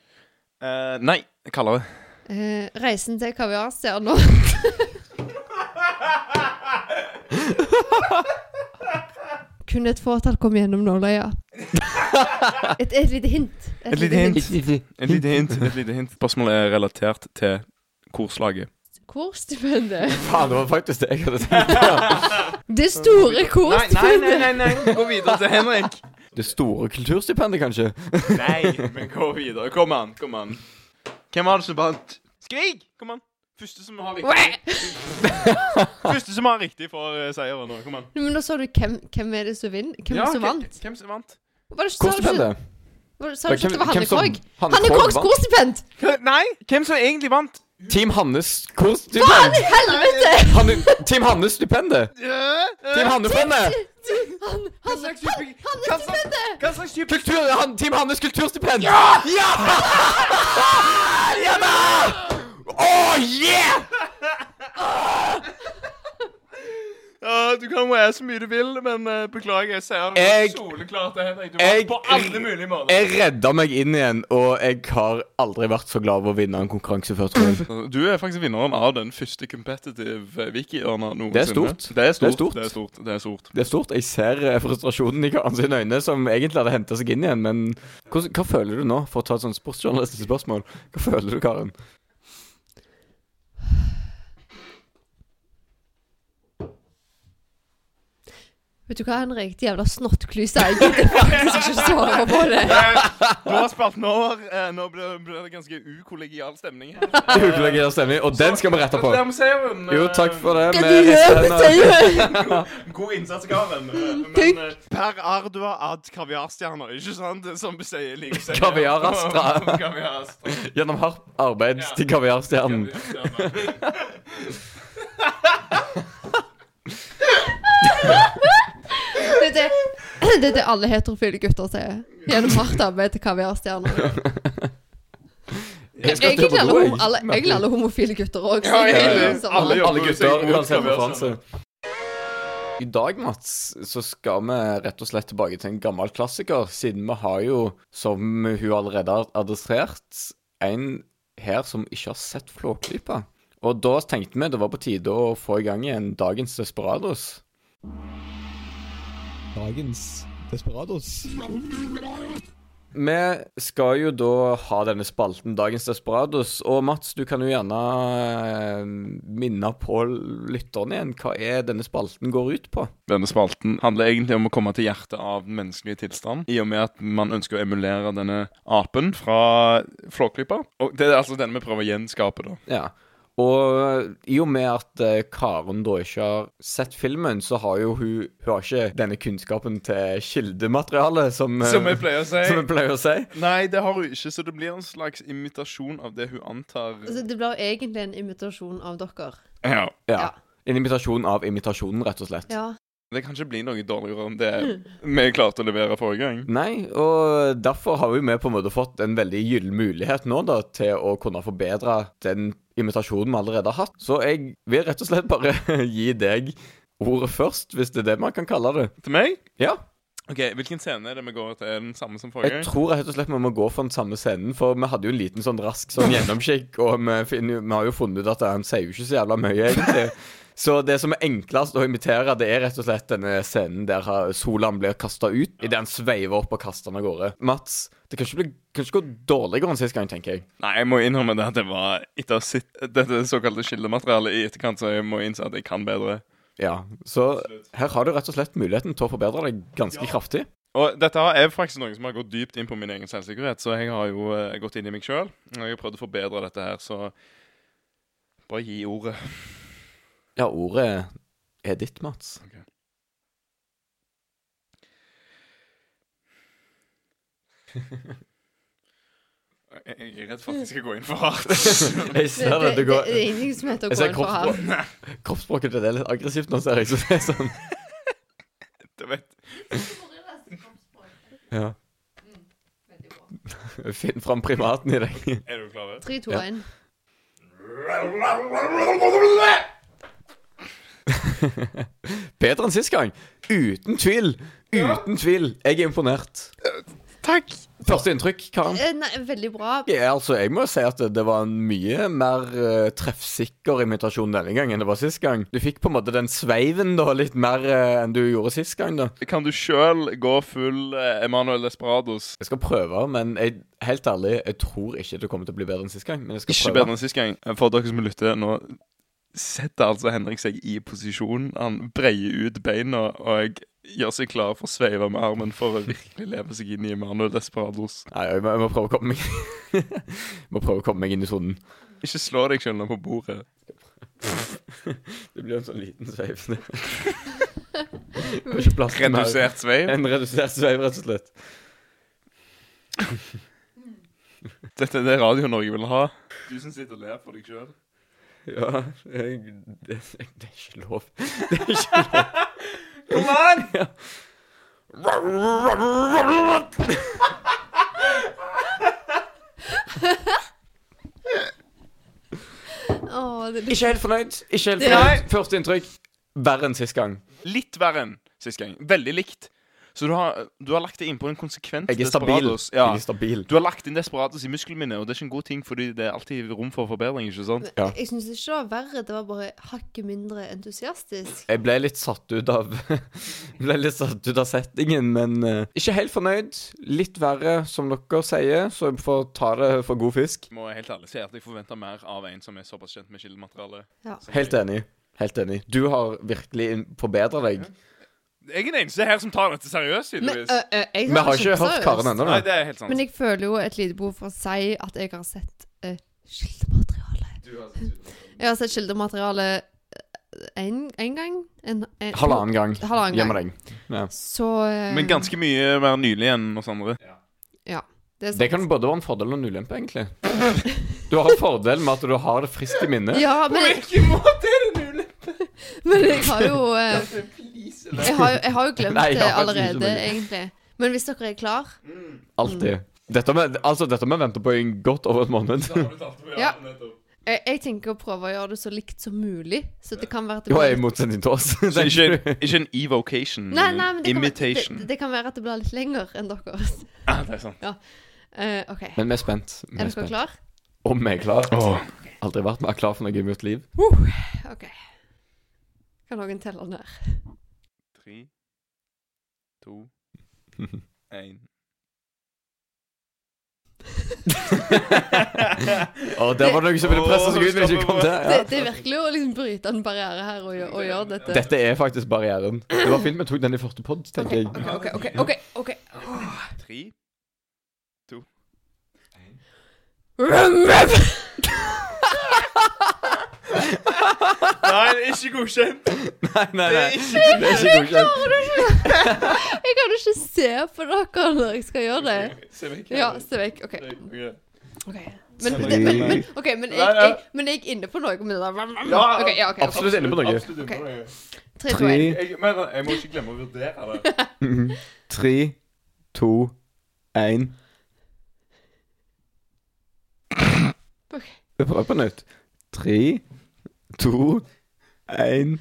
Speaker 1: da.
Speaker 2: Eh, nei, kaldere.
Speaker 3: Eh, reisen til kaviarstjerna. Kun et fåtall kom gjennom nåløya. Et, et lite hint.
Speaker 2: Et lite hint. Et lite hint. et lite hint. Spørsmålet er relatert til korslaget.
Speaker 3: Korstipendet.
Speaker 1: Faen, det var faktisk det jeg hadde tenkt på.
Speaker 3: Det store korstipendet.
Speaker 2: nei, nei. Gå videre til Henrik.
Speaker 1: Det store kulturstipendet, kanskje?
Speaker 2: Nei, men gå videre. Kom an. kom an. Hvem var det som vant? Skrik! Kom an. Første som har riktig. Første som har riktig, får eh, seieren nå. Kom an.
Speaker 3: Men da så du hvem, hvem er det som vinner? Hvem er det som
Speaker 2: hvem-
Speaker 3: vant?
Speaker 2: Hvem som vant?
Speaker 3: Var det, sa du ikke-
Speaker 1: Krogh-stipendet.
Speaker 3: var det- sa du ikke at det var
Speaker 1: Hvem- hvem
Speaker 3: Hanne
Speaker 1: som-
Speaker 3: Krogh?
Speaker 1: Hanne
Speaker 3: Hanne
Speaker 1: Krogh
Speaker 3: Kroghs
Speaker 1: vant.
Speaker 3: korstipend!
Speaker 2: Hva- Nei, hvem som egentlig vant?
Speaker 1: Team Hannes Krogh-stipend.
Speaker 3: Helvete!
Speaker 1: Hanne- Team Hannes stipendet. Team Hanne-fondet.
Speaker 3: Han-
Speaker 2: Hva
Speaker 3: han-
Speaker 2: slags type
Speaker 3: han er
Speaker 2: hva slags-
Speaker 3: stipendet!
Speaker 2: Hva slags type
Speaker 1: Kultur, han, Team Hannes kulturstipend! Ja! Ja! ja da! Oh, yeah!
Speaker 2: Ja, du kan være så mye du vil, men eh, beklager, jeg ser det
Speaker 1: Jeg-
Speaker 2: soleklart til Henrik. Du
Speaker 1: jeg-
Speaker 2: var på alle mulige måter.
Speaker 1: Jeg redda meg inn igjen, og jeg har aldri vært så glad over å vinne en konkurranse før. tror jeg.
Speaker 2: Du er faktisk vinneren av den første competitive wiki-hjørna noensinne.
Speaker 1: Det er stort.
Speaker 2: Det er stort.
Speaker 1: stort.
Speaker 2: Det er stort. Det er stort.
Speaker 1: Det er stort. Jeg ser eh, frustrasjonen i Karen sine øyne, som egentlig hadde henta seg inn igjen. Men hvordan, hva føler du nå, for å ta et sånt sportsjournalistisk spørsmål? Hva føler du, Karen?
Speaker 3: Vet du hva, Henrik? De jævla snottklysene. Jeg gidder faktisk ikke svare på det.
Speaker 2: Nå Eh, har spalten over. Eh, Nå blir det- blir det ganske ukollegial stemning her.
Speaker 1: Det er ukollegial stemning, og den skal vi rette på.
Speaker 2: Der må seieren, eh,
Speaker 1: Jo, takk for det. eh,
Speaker 3: Hva
Speaker 1: vi
Speaker 3: du gjør
Speaker 1: rister
Speaker 3: med
Speaker 1: hendene.
Speaker 3: tøyet?
Speaker 2: God innsats, Karen. Men,
Speaker 3: Takk.
Speaker 2: eh, per Ardua ad kaviarstjerner, ikke sant? Som sier like sier.
Speaker 1: Kaviarastra.
Speaker 2: Kaviarastra.
Speaker 1: Gjennom hardt arbeid
Speaker 2: Ja.
Speaker 1: til kaviarstjernen.
Speaker 2: Kaviarstjerner.
Speaker 3: Det er det, det er det alle heterofile gutter sier. Gjennom hardt arbeid til kaviarstjerner.
Speaker 1: Jeg skal til
Speaker 3: Egentlig
Speaker 1: på
Speaker 3: alle,
Speaker 1: do, jeg.
Speaker 3: homo- alle, egentlig alle homofile gutter òg.
Speaker 2: Ja, egentlig. Alle gjør-
Speaker 1: Alle gutter, uansett
Speaker 2: Kaviarstjerner.
Speaker 1: referanse. I dag, Mats, så skal vi rett og slett tilbake til en gammel klassiker, siden vi har jo, som hun allerede har adressert, en her som ikke har sett Flåklypa. Og da tenkte vi det var på tide å få i gang igjen dagens Desperados. Dagens Desperados. Vi skal jo da ha denne spalten Dagens Desperados. Og Mats, du kan jo gjerne eh, minne på lytterne igjen. Hva er denne spalten går ut på?
Speaker 2: Denne spalten handler egentlig om å komme til hjertet av den menneskelige tilstand, i og med at man ønsker å emulere denne apen fra Flåklypa. Og det er altså den vi prøver å gjenskape, da.
Speaker 1: Ja. Og i og med at eh, Karen da ikke har sett filmen, så har jo hun, hun har ikke denne kunnskapen til kildematerialet, som, eh,
Speaker 2: Som jeg pleier å
Speaker 1: som jeg
Speaker 2: si.
Speaker 1: pleier å si.
Speaker 2: Nei, det har hun ikke, så det blir en slags imitasjon av det hun antar.
Speaker 3: Altså, det blir egentlig en imitasjon av dere.
Speaker 2: Ja.
Speaker 1: Ja.
Speaker 3: Ja.
Speaker 1: En imitasjon av imitasjonen, rett og slett.
Speaker 3: Ja.
Speaker 2: Det kan ikke bli noe dårligere enn det
Speaker 1: Hmm.
Speaker 2: vi klarte å levere forrige gang.
Speaker 1: Nei, og derfor har jo vi på en måte fått en veldig gyllen mulighet nå da, til å kunne forbedre den imitasjonen vi allerede har hatt. Så jeg vil rett og slett bare gi deg ordet først, hvis det er det man kan kalle det.
Speaker 2: Til meg?
Speaker 1: Ja,
Speaker 2: Ok, Hvilken scene er det vi går til? Er den samme som forrige
Speaker 1: jeg
Speaker 2: gang?
Speaker 1: tror rett og slett vi må gå for den samme scenen, for vi hadde jo en liten sånn rask sånn gjennomkikk, og vi, finner, jo- vi har jo funnet ut at han sier jo ikke så jævla mye, egentlig. Så det som er enklest å imitere, det er rett og slett denne scenen der ha- Solan blir kasta ut, idet han sveiver opp og kaster han av gårde. Mats, det kan ikke, bli, kan ikke gå dårligere enn sist gang, tenker jeg.
Speaker 2: Nei, jeg må innrømme det at det var etter å ha sett dette såkalte skillematerialet i etterkant, så jeg må innse at jeg kan bedre.
Speaker 1: Ja, Så her har du rett og slett muligheten til å forbedre deg ganske kraftig.
Speaker 2: Og dette har- er faktisk noe som har gått dypt inn på min egen selvsikkerhet, så jeg har jo eh, gått inn i meg sjøl. Jeg har prøvd å forbedre dette her, så bare gi ordet.
Speaker 1: Ja, ordet er ditt, Mats.
Speaker 2: Jeg, jeg er redd for at jeg skal gå inn for hardt.
Speaker 1: Jeg
Speaker 3: Det,
Speaker 1: ser
Speaker 3: det,
Speaker 1: det,
Speaker 3: det,
Speaker 1: du går
Speaker 3: er ingenting som heter å
Speaker 1: Jeg ser
Speaker 3: gå inn for ham.
Speaker 1: kroppsspråk- kroppsspråket ditt er litt aggressivt nå, ser jeg. Så det er sånn
Speaker 2: Du vet.
Speaker 1: Ja. Mm, Finn fram primaten i deg.
Speaker 2: Er du klar?
Speaker 3: Tre, to,
Speaker 1: Ja.
Speaker 3: én.
Speaker 1: Bedre enn sist gang. Uten tvil. Uten tvil. Jeg er imponert.
Speaker 2: Takk.
Speaker 1: Første inntrykk, Karen?
Speaker 3: Eh, Nei, veldig bra.
Speaker 1: Ja, altså, jeg må si at det- det var en mye mer eh, treffsikker imitasjon denne gangen enn det var sist gang. Du fikk på en måte den sveiven da, litt mer eh, enn du gjorde sist gang. da.
Speaker 2: Kan du sjøl gå full eh, Emanuel Desperados?
Speaker 1: Jeg skal prøve, men jeg, helt ærlig, jeg tror ikke det kommer til å bli bedre enn sist gang. Men jeg skal
Speaker 2: Ikke
Speaker 1: prøve.
Speaker 2: bedre enn sist gang. Eh, For dere som lytter nå setter altså Henrik seg i posisjon. Han breier ut beina og gjør seg klar for å sveive med armen for å virkelig leve seg inn i Emanuel Desperados.
Speaker 1: Nei, jeg må, jeg må prøve å komme meg Må prøve å komme meg inn i sonen.
Speaker 2: Ikke slå deg sjøl på bordet.
Speaker 1: Det blir en sånn liten sveiv. det. Får ikke plass til mer.
Speaker 2: Redusert sveiv.
Speaker 1: En redusert sveiv, rett og slett.
Speaker 2: Dette er det Radio Norge vil ha. Du som sitter og ler for deg sjøl.
Speaker 1: Ja, jeg, det, jeg, det er ikke lov.
Speaker 2: Kom an!
Speaker 3: Å, det er litt
Speaker 1: Ikke helt fornøyd. Ikke helt
Speaker 3: Ja.
Speaker 1: fornøyd. Første inntrykk. verre enn sist gang.
Speaker 2: Litt verre enn sist gang. Veldig likt. Så du har, du har lagt det innpå en konsekvent
Speaker 1: Jeg er stabil.
Speaker 2: desperados. Ja.
Speaker 1: Jeg er stabil.
Speaker 2: Du har lagt inn Desperados i muskelminnet, og det er ikke en god ting, fordi det er alltid rom for forbedring. ikke sant?
Speaker 1: Ja.
Speaker 3: Jeg syns ikke det var verre, det var bare hakket mindre entusiastisk.
Speaker 1: Jeg ble litt satt ut av Ble litt satt ut av settingen, men eh, ikke helt fornøyd. Litt verre, som dere sier, så jeg får ta det for god fisk.
Speaker 2: Må jeg helt ærlig si at jeg forventer mer av en som er såpass kjent med kildematerialet.
Speaker 3: Ja.
Speaker 2: som
Speaker 1: Helt
Speaker 2: jeg.
Speaker 1: enig. Helt enig. Du har virkelig forbedra deg.
Speaker 2: Jeg er den eneste her som tar dette seriøst,
Speaker 3: Men,
Speaker 2: tydeligvis.
Speaker 3: ø, ø, jeg
Speaker 1: Vi har ikke
Speaker 3: kjempeseriøst.
Speaker 1: hørt Karen ennå.
Speaker 2: Nei,
Speaker 1: da.
Speaker 2: det er helt sant.
Speaker 3: Men jeg føler jo et lite behov for å si at jeg har sett uh, kildemateriale. Jeg har sett kildemateriale én gang. En, en,
Speaker 1: Halvannen gang.
Speaker 3: Halvannen gang.
Speaker 1: Gjemmer deg.
Speaker 3: Så eh,
Speaker 2: Men ganske mye mer nylig enn oss andre.
Speaker 3: det, er sant.
Speaker 1: Det kan både være en fordel og en ulempe, egentlig. Du har en fordel med at du har det friskt i minnet.
Speaker 3: Ja, men,
Speaker 2: hvilken måte er det mulig?
Speaker 3: men jeg har jo eh, jeg, har, jo- jeg har jo glemt
Speaker 1: Nei, jeg
Speaker 3: det
Speaker 1: har faktisk ikke
Speaker 3: allerede,
Speaker 1: noe.
Speaker 3: egentlig. Men hvis dere er klar
Speaker 1: Alltid. Dette må altså, dette må jeg vente på i godt over en måned.
Speaker 3: Ja. jeg, jeg tenker å prøve å gjøre det så likt som mulig. Så det kan være at det
Speaker 1: Jo, jeg er
Speaker 3: blir
Speaker 1: i motsetning til oss.
Speaker 2: Så ikke, ikke en evocation,
Speaker 3: Nei, nei, men det kan, være,
Speaker 2: imitation.
Speaker 3: det, det kan være at det blir litt lenger enn deres.
Speaker 2: Ah, det er sant.
Speaker 3: Eh, OK. Er
Speaker 1: Men vi er spent. Vi er
Speaker 3: dere
Speaker 1: spent.
Speaker 3: klar?
Speaker 1: Om vi er klar. Aldri vært mer klar for noe i mitt liv.
Speaker 2: Uh.
Speaker 3: OK. Kan noen telle ned?
Speaker 2: Tre, to, én.
Speaker 3: Oh,
Speaker 1: Å, der var det noen som ville presse seg ut, men ikke kom til.
Speaker 3: Det,
Speaker 1: Ja.
Speaker 3: det er virkelig å liksom bryte en barriere her og, gjø- og gjøre dette.
Speaker 1: Dette er faktisk barrieren. Det var fint vi tok den i første pod, tenker jeg.
Speaker 3: OK, OK. ok, ok, ok.
Speaker 2: Tre. Nei, det er ikke godkjent.
Speaker 1: Nei, nei, nei.
Speaker 2: ikke
Speaker 1: Det er ikke godkjent.
Speaker 3: Jeg kan ikke se på dere når jeg skal gjøre det.
Speaker 2: Se vekk.
Speaker 3: Ja, se vekk. OK. ok. Men,
Speaker 1: Sorry.
Speaker 3: det, men, men, ok, men, jeg,
Speaker 2: Nei,
Speaker 3: jeg,
Speaker 2: nei.
Speaker 3: men jeg er inne på noe med det der.
Speaker 2: Ja,
Speaker 3: OK. Ja, ok, ok.
Speaker 1: Absolutt inne på noe.
Speaker 2: Absolutt inne på noe.
Speaker 3: Tre, to,
Speaker 1: Tre,
Speaker 3: en.
Speaker 2: Jeg, men jeg må ikke glemme å vurdere det.
Speaker 1: mhm. tre, to, én
Speaker 3: Ok.
Speaker 1: Vi prøver på nytt. Tre, to, én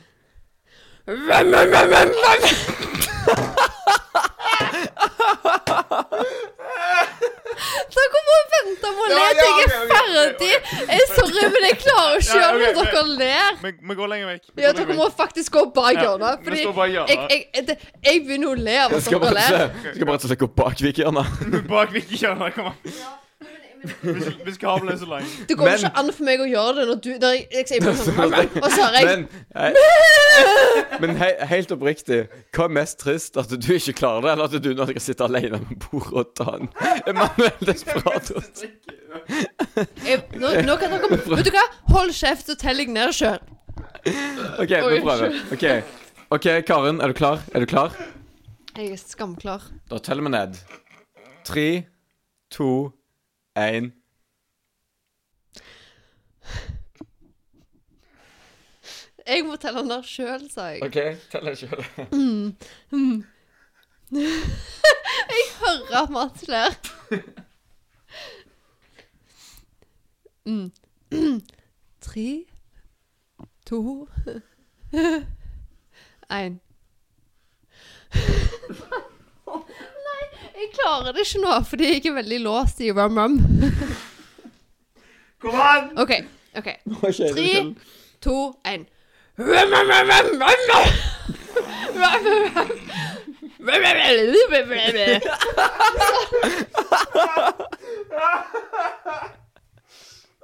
Speaker 3: Dere må vente med å le
Speaker 2: Ja, ja,
Speaker 3: til jeg er
Speaker 2: ok, ok, ok,
Speaker 3: ferdig. Jeg, sorry, men jeg klarer ikke å
Speaker 2: Ja,
Speaker 3: gjøre det
Speaker 2: ok,
Speaker 3: når dere ler.
Speaker 2: Vi, vi går lenger vekk. Vi
Speaker 3: Ja,
Speaker 2: går
Speaker 3: dere
Speaker 2: lenger
Speaker 3: må
Speaker 2: vekk.
Speaker 3: faktisk gå bak hjørnet.
Speaker 2: Ja, vi
Speaker 3: Fordi
Speaker 2: står bare i
Speaker 3: jeg,
Speaker 2: hjørnet.
Speaker 3: jeg, det, jeg begynner å le av
Speaker 1: Jeg
Speaker 3: at
Speaker 1: skal
Speaker 3: dere
Speaker 1: bare
Speaker 3: ler.
Speaker 1: se. Jeg skal bare rett og slett gå bak Vikiana.
Speaker 2: Bak Vicky Kjønner, kom an. Hvis, hvis kabelen er så lang.
Speaker 3: Det går
Speaker 1: Men-
Speaker 3: ikke an for meg å gjøre det når du når jeg, jeg, jeg, sånn, Og så har jeg
Speaker 1: Men, hei, men hei, helt oppriktig, hva er mest trist? At du ikke klarer det, eller at du nå skal sitte alene med bordet og ta en Emanuel Desperado?
Speaker 3: jeg, nå, nå kan dere Vet du hva? Hold kjeft, så teller jeg ned sjøl.
Speaker 1: OK, vi prøver. Ok, ok, Karen, er du klar? Er du klar?
Speaker 3: Jeg er skamklar.
Speaker 1: Da teller vi ned. Tre, to, én
Speaker 3: Jeg må telle ned sjøl, sa jeg.
Speaker 1: OK, tell deg sjøl.
Speaker 3: Hører Mats ler. Mm. Tre, to, én. Nei, jeg klarer det ikke nå, fordi jeg er veldig låst i rum-rum.
Speaker 2: Kom an!
Speaker 3: OK. ok Tre, to, én.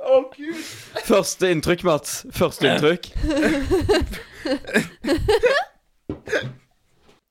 Speaker 2: Å, gud.
Speaker 1: Første inntrykk, Mats. Første inntrykk.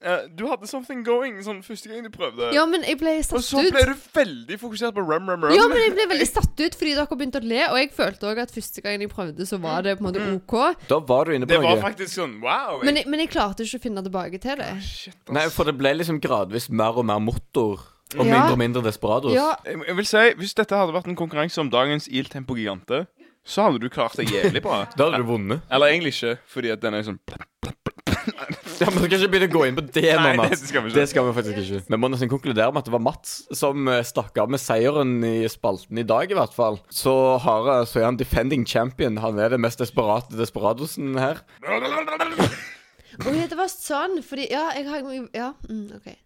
Speaker 2: Eh, du hadde something going sånn første gang du prøvde.
Speaker 3: Ja, men jeg ble
Speaker 2: Og
Speaker 3: satt
Speaker 2: så ble
Speaker 3: ut.
Speaker 2: du veldig fokusert på rum, rum, rum.
Speaker 3: Ja, men jeg ble veldig satt ut fordi dere begynte å le, og jeg følte òg at første gangen jeg prøvde, så var det på en måte
Speaker 2: Mm.
Speaker 3: OK.
Speaker 1: Da var du inne på
Speaker 2: Det var
Speaker 1: noe.
Speaker 2: faktisk sånn wow.
Speaker 3: Men jeg, men jeg klarte ikke å finne tilbake til det.
Speaker 2: Shit, ass.
Speaker 1: Nei, for det ble liksom gradvis mer og mer motor. Og
Speaker 3: Ja.
Speaker 1: mindre og mindre Desperados.
Speaker 3: Ja,
Speaker 2: Jeg jeg vil si, Hvis dette hadde vært en konkurranse om dagens Il Tempo Gigante, så hadde du klart deg jævlig bra.
Speaker 1: Da hadde du vunnet.
Speaker 2: Eller egentlig ikke, fordi at den er sånn
Speaker 1: Ja, men Du kan ikke begynne å gå inn på det nå,
Speaker 2: Nei, det
Speaker 1: Mats.
Speaker 2: skal vi ikke.
Speaker 1: Det skal vi faktisk ikke. Vi må nesten konkludere med at det var Mats som eh, stakk av med seieren i spalten i dag, i hvert fall. Så, har, eh, så er han defending champion. Han er den mest desperate desperadosen her.
Speaker 3: Å ja, det var sånn, fordi Ja, jeg har Ja, mm, OK.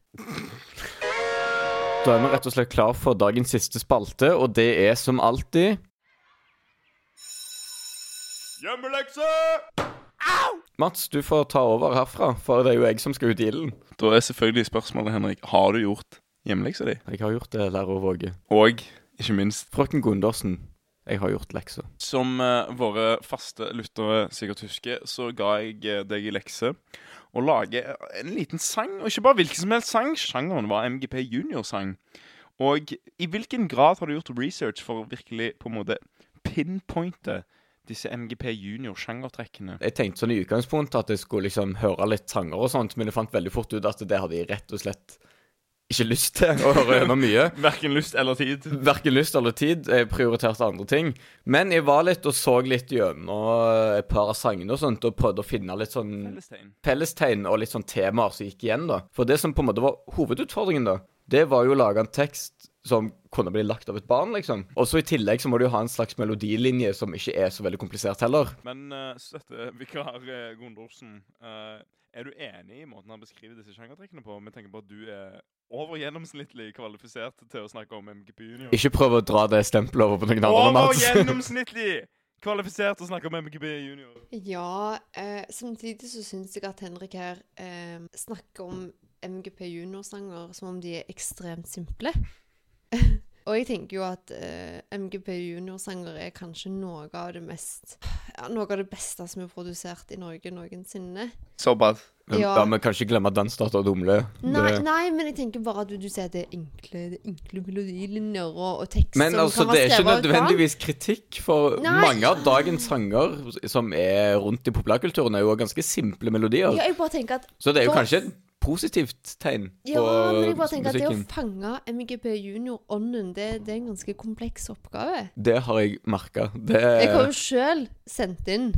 Speaker 1: Da er vi rett og slett klar for dagens siste spalte, og det er som alltid
Speaker 2: Hjemmelekse!
Speaker 1: Mats, du får ta over herfra, for det er jo jeg som skal ut i ilden.
Speaker 2: Da er selvfølgelig spørsmålet, Henrik, har du gjort hjemmeleksa di?
Speaker 1: Jeg har gjort det, lærer Våge.
Speaker 2: Og ikke minst,
Speaker 1: Frøken Gundersen, jeg har gjort lekser.
Speaker 2: som eh, våre faste lyttere sikkert husker, så ga jeg eh, deg i lekse å lage en liten sang, og ikke bare hvilken som helst sang. Sjangeren var MGP Junior-sang. Og i hvilken grad har du gjort research for å virkelig på en måte pinpointe disse MGP Junior-sjangertrekkene?
Speaker 1: Jeg tenkte sånn i utgangspunktet at jeg skulle liksom høre litt sanger og sånt, men jeg fant veldig fort ut at det hadde jeg rett og slett ikke lyst til å høre gjennom mye.
Speaker 2: Verken lyst eller tid.
Speaker 1: Verken lyst eller tid. Jeg prioriterte andre ting. Men jeg var litt og så litt gjennom et par av sangene og sånt, og prøvde å finne litt sånn
Speaker 2: Fellestein.
Speaker 1: fellestegn og litt sånn temaer som gikk igjen, da. For det som på en måte var hovedutfordringen, da, det var jo å lage en tekst som kunne bli lagt av et barn, liksom. Og så i tillegg så må du jo ha en slags melodilinje som ikke er så veldig komplisert heller.
Speaker 2: Men uh, støttevikar eh, Gondorsen, eh, er du enig i måten han beskriver disse sjangertrekkene på? Vi tenker på at du er over gjennomsnittlig kvalifisert til å snakke om MGP Junior.
Speaker 1: Ikke prøv å dra det stempelet over på noen andre,
Speaker 2: Over
Speaker 1: Mats.
Speaker 2: gjennomsnittlig kvalifisert til å snakke om MGP Junior.
Speaker 3: Ja, eh, samtidig så syns jeg at Henrik her eh, snakker om MGP Junior-sanger som om de er ekstremt simple. Og jeg tenker jo at eh, MGP Junior-sanger er kanskje noe av det mest ja, Noe av det beste som er produsert i Norge noensinne.
Speaker 2: Såpass.
Speaker 1: Men-
Speaker 3: Ja.
Speaker 1: Ja, men kan ikke glemme at den starta dumle.
Speaker 3: Nei, nei, men jeg tenker bare at du, du sier at det er enkle, det er enkle melodilinjer og, og tekst
Speaker 1: Men
Speaker 3: som
Speaker 1: altså,
Speaker 3: kan
Speaker 1: det
Speaker 3: være
Speaker 1: er ikke
Speaker 3: skrevet av et barn.
Speaker 1: nødvendigvis kritikk, for
Speaker 3: Nei.
Speaker 1: mange av dagens sanger som er rundt i populærkulturen, er jo ganske simple melodier.
Speaker 3: Ja, jeg bare tenker at
Speaker 1: Så det er jo
Speaker 3: for-
Speaker 1: kanskje et positivt tegn
Speaker 3: Ja,
Speaker 1: på
Speaker 3: men jeg bare tenker at det å
Speaker 1: musikken.
Speaker 3: fange MGP junior-ånden, det, det er en ganske kompleks oppgave.
Speaker 1: Det har jeg merka. Det
Speaker 3: Jeg har jo sjøl sendt inn.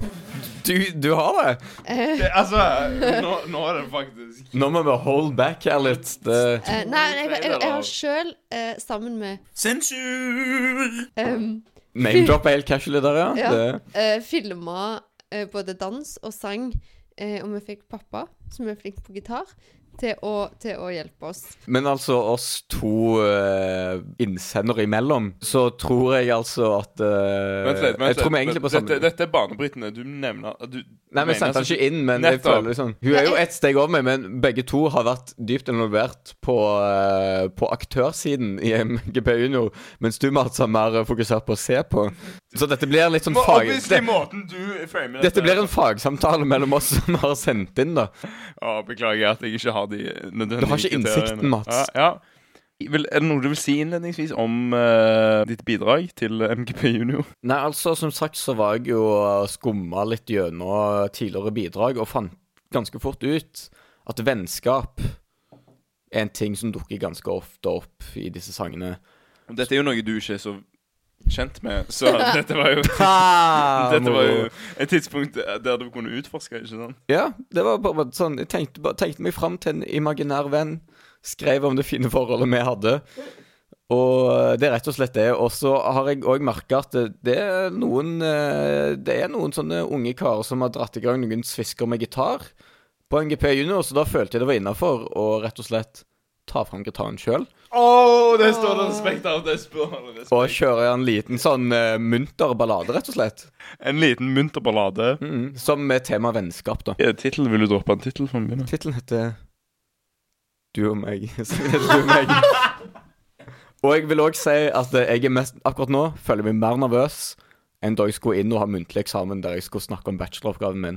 Speaker 1: du, du har det!
Speaker 3: Eh,
Speaker 2: Det, altså, nå, nå er det faktisk
Speaker 1: Nå må vi hold back her litt. Det,
Speaker 3: eh, nei, men jeg, jeg, jeg har sjøl, eh, sammen med
Speaker 2: Sensur!
Speaker 3: um,
Speaker 1: Name-drop er helt casual der, ja.
Speaker 3: Ja.
Speaker 1: Det,
Speaker 3: eh, filma eh, både dans og sang, eh, og vi fikk pappa, som er flink på gitar, til å, til å hjelpe oss.
Speaker 1: men altså, oss to uh, innsendere imellom, så tror jeg altså at eh,
Speaker 2: Vent
Speaker 1: Jeg
Speaker 2: litt, vent
Speaker 1: tror vi
Speaker 2: litt.
Speaker 1: egentlig på
Speaker 2: Dette,
Speaker 1: samme
Speaker 2: dette er banebrytende. Du nevner du,
Speaker 1: Nei, vi
Speaker 2: mener
Speaker 1: sendte han
Speaker 2: altså-
Speaker 1: ikke inn, men jeg
Speaker 2: Nettopp.
Speaker 1: føler liksom Hun er jo ett steg over meg, men begge to har vært dypt involvert på, eh, på aktørsiden i MGP Junior, mens du, Mats, har mer eh, fokusert på å se på. Så dette blir litt sånn
Speaker 2: Må-
Speaker 1: fag...
Speaker 2: Obviously,
Speaker 1: Det,
Speaker 2: måten du framer
Speaker 1: dette blir en fagsamtale mellom oss som har sendt inn, da.
Speaker 2: Å, beklager at jeg ikke har de nødvendige
Speaker 1: Du har ikke
Speaker 2: kriteriene.
Speaker 1: innsikten, Mats.
Speaker 2: Ja, ja. Vel, er det noe du vil si innledningsvis om eh, ditt bidrag til MGP Junior?
Speaker 1: Nei, altså, som sagt så var jeg jo skumma litt gjennom tidligere bidrag, og fant ganske fort ut at vennskap er en ting som dukker ganske ofte opp i disse sangene.
Speaker 2: Dette er jo noe du ikke er så kjent med, så dette var jo Dette var jo et tidspunkt der du kunne utforske, ikke sant?
Speaker 1: Ja, det var bare sånn Jeg tenkte, bare, tenkte meg fram til en imaginær venn. Skrev om det fine forholdet vi hadde. Og det er rett og slett det. Og så har jeg òg merka at det, det er noen eh, Det er noen sånne unge karer som har dratt i gang noen svisker med gitar på NGP Junior, så da følte jeg det var innafor å rett og slett ta fram gitaren sjøl.
Speaker 2: Å, det står det respekt av! Det står det respekt.
Speaker 1: Og kjøre en liten sånn eh, munter ballade, rett og slett.
Speaker 2: En liten munter ballade.
Speaker 1: Mm, som er tema vennskap, da.
Speaker 2: Ja, tittel, vil du droppe en tittel for å begynne?
Speaker 1: Tittelen heter Du og meg. Sangen heter Du og meg. Og jeg vil òg si at jeg er mest akkurat nå føler jeg meg mer nervøs enn da jeg skulle inn og ha muntlig eksamen der jeg skulle snakke om bacheloroppgaven min.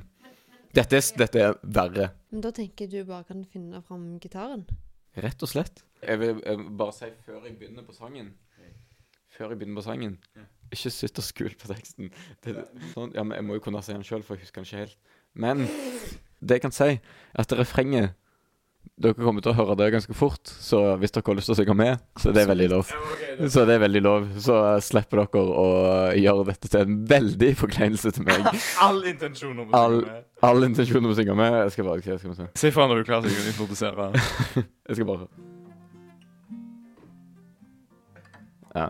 Speaker 1: Dette er, dette er verre.
Speaker 3: Men da tenker jeg du bare kan finne fram gitaren.
Speaker 1: Rett og slett. Jeg vil eh, bare si før jeg begynner på sangen Før jeg begynner på sangen Ikke sitt og skul på teksten. Det, sånn, ja, men jeg må jo kunne si den sjøl, for jeg husker den ikke helt. Men det jeg kan si, er at refrenget Dere kommer til å høre det ganske fort, så hvis dere har lyst til å synge med, så det er veldig lov. Så det er veldig lov. Så eh, slipper dere å gjøre dette til en veldig forkleinelse til meg.
Speaker 2: All intensjon om å
Speaker 1: All,
Speaker 2: synge med.
Speaker 1: all intensjon om å synge med. Jeg skal bare jeg skal bare se.
Speaker 2: Si fra når du klarer deg å introdusere.
Speaker 1: Jeg skal bare Ja.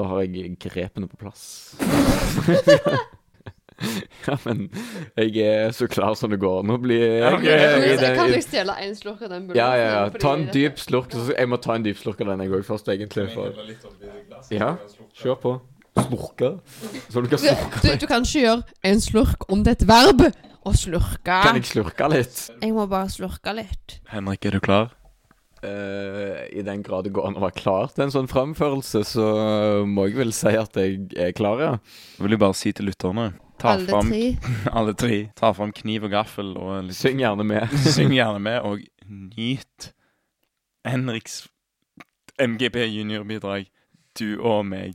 Speaker 1: Da har jeg grepene på plass. Ja, men jeg er så klar som det går an å bli. Jeg,
Speaker 2: ok.
Speaker 1: er i
Speaker 3: Men så
Speaker 1: den-
Speaker 3: Kan jeg stjele én slurk av den
Speaker 1: ja, ja, ja.
Speaker 3: fordi
Speaker 1: Ta en
Speaker 3: dette-
Speaker 1: dyp slurk. så- Jeg må ta en dyp slurk av den jeg òg først, egentlig. For Ja, kjør på. Slurke. Så du kan
Speaker 3: Du,
Speaker 1: slurke.
Speaker 3: du, du kan ikke gjøre en slurk om det er et verb å slurke.
Speaker 1: Kan jeg slurke litt?
Speaker 3: Jeg må bare slurke litt.
Speaker 2: Henrik, er du klar?
Speaker 1: Eh, I den grad det går an å være klar til en sånn framførelse, så må jeg vel si at jeg er klar, ja.
Speaker 2: Jeg vil jo bare si til lytterne Ta
Speaker 3: Alle
Speaker 2: fram,
Speaker 3: tre.
Speaker 2: alle tre. Ta fram kniv og gaffel og en litt
Speaker 1: Syng gjerne med.
Speaker 2: Syng gjerne med, og nyt Henriks MGP junior-bidrag. Du og meg.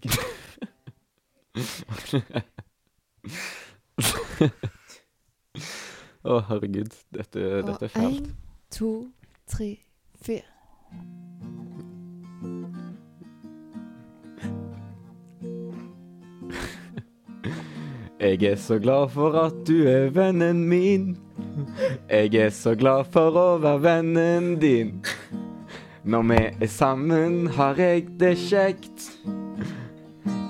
Speaker 1: Å, herregud. Dette, dette er
Speaker 3: Og
Speaker 1: fælt.
Speaker 3: én, to, tre, fire.
Speaker 1: Jeg er så glad for at du er vennen min. Jeg er så glad for å være vennen din. Når vi er sammen, har jeg det kjekt.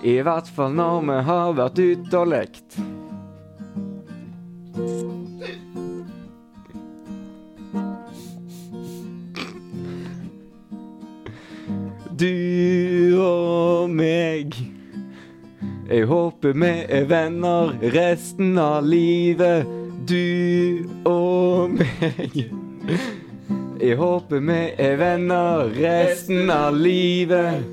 Speaker 1: I hvert fall når vi har vært ute og lekt. Du og meg. Jeg håper vi er venner resten av livet, du og meg. Jeg håper vi er venner resten av livet.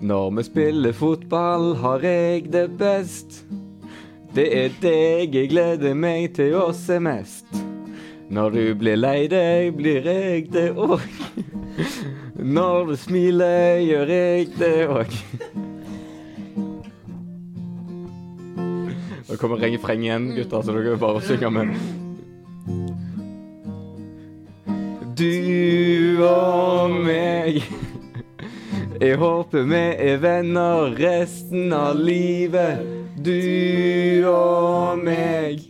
Speaker 1: Når vi spiller fotball, har jeg det best. Det er deg jeg gleder meg til å se mest. Når du blir lei deg, blir jeg det òg. Når du smiler, gjør jeg det òg. Nå kommer refrenget igjen, gutter, så dere kan bare synge med. Du og meg. Jeg håper vi er venner resten av livet. Du og meg.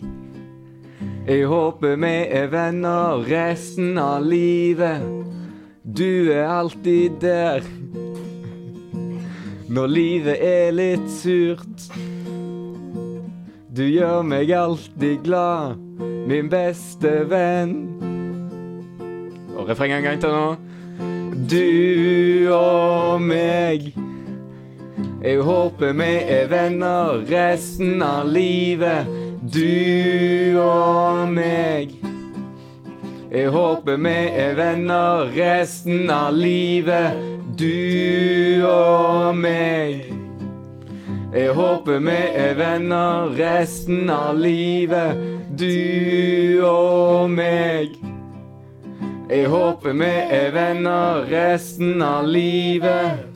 Speaker 1: Jeg håper vi er venner resten av livet. Du er alltid der. Når livet er litt surt. Du gjør meg alltid glad, min beste venn. Og refrenget en gang til nå. Du og meg. Jeg håper vi er venner resten av livet, du og meg. Jeg håper vi er venner resten av livet, du og meg. Jeg håper vi er venner resten av livet, du og meg. Jeg håper vi er venner resten av livet.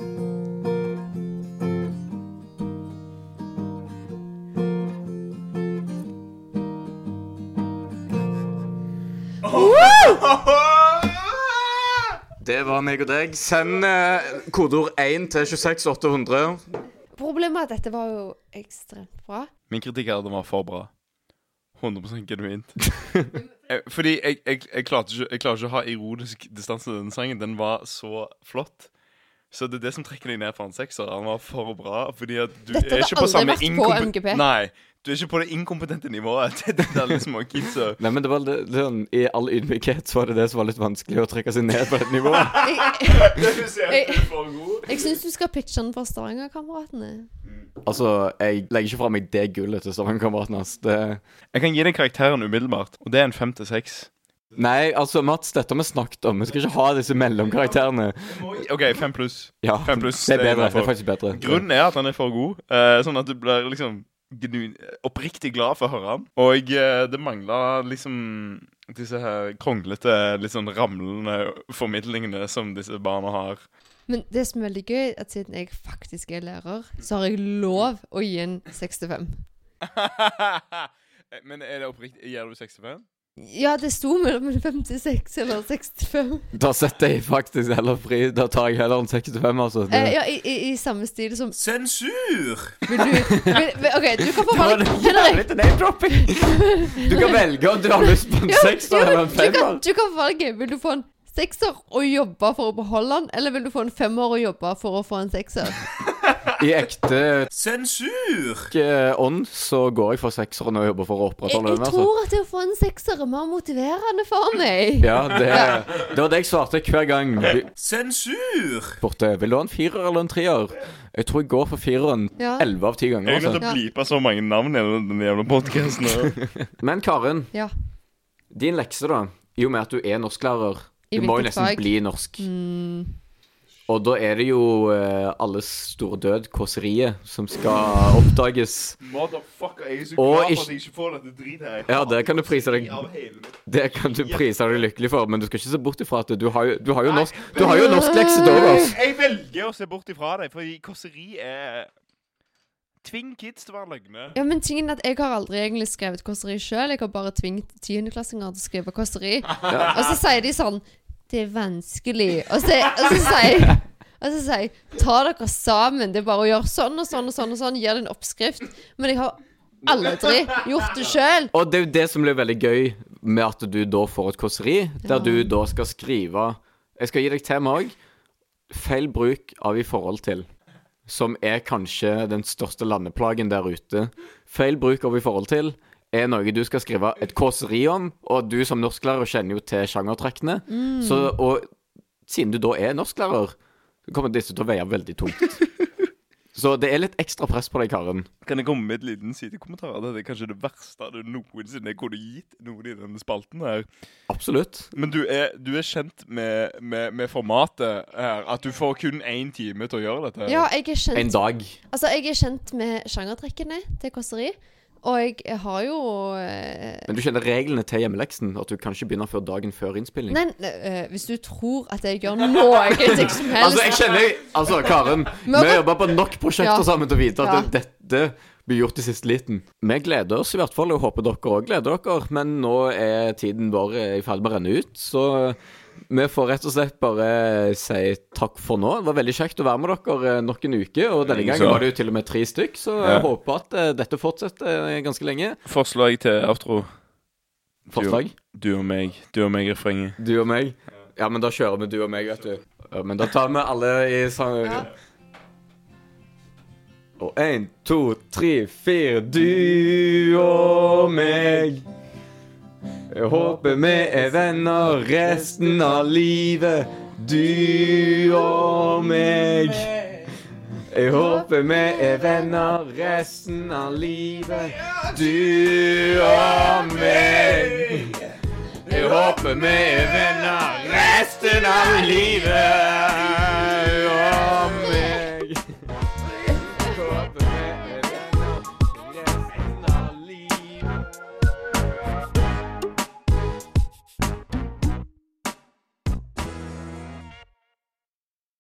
Speaker 1: Det var meg og deg. Send eh, kodeord 1 til 26800.
Speaker 3: Problemet er at dette var jo ekstremt bra.
Speaker 2: Min kritikk er at den var for bra. 100 genuint. Eh, Fordi jeg, jeg, jeg, klarte ikke, jeg klarer ikke å ha ironisk distanse til denne sangen. Den var så flott. Så det er det som trekker deg ned fra en sekser. Den var for bra. Fordi at du
Speaker 3: Dette
Speaker 2: er
Speaker 3: har
Speaker 2: ikke på
Speaker 3: aldri
Speaker 2: samme
Speaker 3: vært på
Speaker 2: inkompe-
Speaker 3: MGP.
Speaker 2: Nei, du er ikke på det inkompetente nivået. Det, det er liksom mange kidser.
Speaker 1: Nei, men det var det, det, sånn, I all ydmykhet så var det det som var litt vanskelig å trekke seg ned på dette nivået.
Speaker 3: Jeg,
Speaker 2: Du ser at du er for god.
Speaker 3: jeg syns du skal pitche den for Stavangerkameratene.
Speaker 1: Altså, jeg legger ikke fra meg det gullet til Stavangerkameraten hans. Det-
Speaker 2: Jeg kan gi deg karakteren umiddelbart, og det er en fem til seks.
Speaker 1: Nei, altså, Mats, dette har vi snakket om. Vi skal ikke ha disse mellomkarakterene.
Speaker 2: OK, fem pluss.
Speaker 1: Ja,
Speaker 2: Fem pluss,
Speaker 1: det er bedre.
Speaker 2: det er
Speaker 1: Det
Speaker 2: innenfor.
Speaker 1: er faktisk bedre.
Speaker 2: Grunnen er at han er for god, eh, sånn at du blir liksom gnu, oppriktig glad for å høre han. Og eh, det mangla liksom disse her kronglete, litt sånn ramlende formidlingene som disse barna har.
Speaker 3: Men det som er veldig gøy, er at siden jeg faktisk er lærer, så har jeg lov å gi en 65.
Speaker 2: Men er det oppriktig? Gir du 65?
Speaker 3: Ja, det sto mellom en 56 eller 65.
Speaker 1: Da setter jeg faktisk heller fri. Da tar jeg heller en 65, altså.
Speaker 3: Eh,
Speaker 1: Det.
Speaker 3: ja, i, i, I samme stil som
Speaker 2: Sensur!
Speaker 3: Vil du vil, vil, OK, du kan få
Speaker 1: Det var
Speaker 3: valg.
Speaker 1: det
Speaker 3: Henrik,
Speaker 1: jævlig name-dropping! Du kan velge om du har lyst på en sekser
Speaker 3: ja,
Speaker 1: eller en
Speaker 3: du kan,
Speaker 1: femmer.
Speaker 3: du kan få valget. Vil du få en sekser og jobbe for å beholde den, eller vil du få en femmer og jobbe for å få en sekser?
Speaker 1: I ekte
Speaker 2: Sensur!
Speaker 1: eh, ånd så går jeg for sekseren og jobber for å
Speaker 3: Jeg,
Speaker 1: opprettholde
Speaker 3: jeg
Speaker 1: den. altså.
Speaker 3: tror at det å få en sekser er mer motiverende for meg.
Speaker 1: Ja, det, det var det jeg svarte hver gang. Vi-
Speaker 2: Sensur!
Speaker 1: Borte. Vil du ha en firer eller en trier? Jeg tror jeg går for fireren
Speaker 3: Ja.
Speaker 1: elleve av ti ganger.
Speaker 4: Jeg er nødt til
Speaker 1: Altså.
Speaker 4: å
Speaker 3: Ja.
Speaker 4: blipe så mange navn i den jævla podkasten.
Speaker 1: Men Karin,
Speaker 3: Ja.
Speaker 1: din lekse, da. I og med at du er norsklærer,
Speaker 3: I
Speaker 1: du må jo
Speaker 3: hvilket
Speaker 1: nesten
Speaker 3: fag?
Speaker 1: bli norsk.
Speaker 3: Mm.
Speaker 1: Og da er det jo eh, alles store død, kåseriet, som skal oppdages.
Speaker 4: Motherfucker, jeg er så
Speaker 1: Og
Speaker 4: glad for
Speaker 1: ikke-
Speaker 4: at jeg ikke får dette dritet her.
Speaker 1: Ja, det kan du prise deg
Speaker 4: Av hele mitt-
Speaker 1: Det kan du prise deg lykkelig for, men du skal ikke se bort ifra at du har jo, du har jo norsk altså. Du har jo norsklekse til overs.
Speaker 4: Jeg velger å se bort ifra deg, fordi kåseri er Tving kids til å være løgne.
Speaker 3: Ja, men tingen er at Jeg har aldri egentlig skrevet kåseri sjøl. Jeg har bare tvingt tiendeklassinger til å skrive kåseri. Og så sier de sånn Det er vanskelig. Og så, og så sier og så sier jeg ta dere sammen. Det er bare å gjøre sånn og sånn og sånn. og sånn, Gir det en oppskrift. Men jeg har aldri gjort det sjøl.
Speaker 1: Og det er jo det som blir veldig gøy med at du da får et kåseri, der du da skal skrive Jeg skal gi deg tema òg. Feil bruk av i forhold til. Som er kanskje den største landeplagen der ute. Feil bruk av i forhold til er noe du skal skrive et kåseri om, og du som norsklærer kjenner jo til sjangertrekkene. Så, og siden du da er norsklærer, så kommer disse til å veie veldig tungt. Så det er litt ekstra press på deg, Karen.
Speaker 4: Kan jeg komme med et liten sidekommentar? Det er kanskje det verste du noensinne kunne gitt noen i denne spalten her.
Speaker 1: Absolutt.
Speaker 4: Men du er, du er kjent med, med, med formatet her. At du får kun én time til å gjøre dette.
Speaker 3: Ja, jeg er kjent
Speaker 1: En dag.
Speaker 3: Altså, jeg er kjent med sjangertrekkene til kåseri. Og jeg har jo eh,
Speaker 1: Men du kjenner reglene til hjemmeleksen? At du kan ikke begynne før dagen før innspilling?
Speaker 3: Nei, eh, hvis du tror at jeg gjør noe ting som helst
Speaker 1: Altså, jeg kjenner Altså, Karen. Vi
Speaker 3: Men-
Speaker 1: har jobba på nok prosjekter
Speaker 3: Ja.
Speaker 1: sammen til å vite at
Speaker 3: Ja.
Speaker 1: det- dette blir gjort i siste liten. Vi gleder oss i hvert fall, og håper dere òg gleder dere. Men nå er tiden vår eh, i ferd med å renne ut, så vi får rett og slett bare si takk for nå. Det var veldig kjekt å være med dere eh, nok en uke, og denne gangen
Speaker 4: Så.
Speaker 1: var det jo til og med tre stykk, så jeg håper at eh, dette fortsetter eh, ganske lenge.
Speaker 4: Forslag til outro.
Speaker 1: Forslag?
Speaker 4: Du og meg. Du og meg i refrenget.
Speaker 1: Du og meg? Ja, men da kjører vi du og meg, vet du. Ja, men da tar vi alle i sang...
Speaker 3: Ja.
Speaker 1: Og én, to, tre, fire. Du og meg. Jeg håper vi er venner resten av livet. Du og meg. Jeg håper vi er venner resten av livet. Du og meg. Jeg håper vi er venner resten av livet.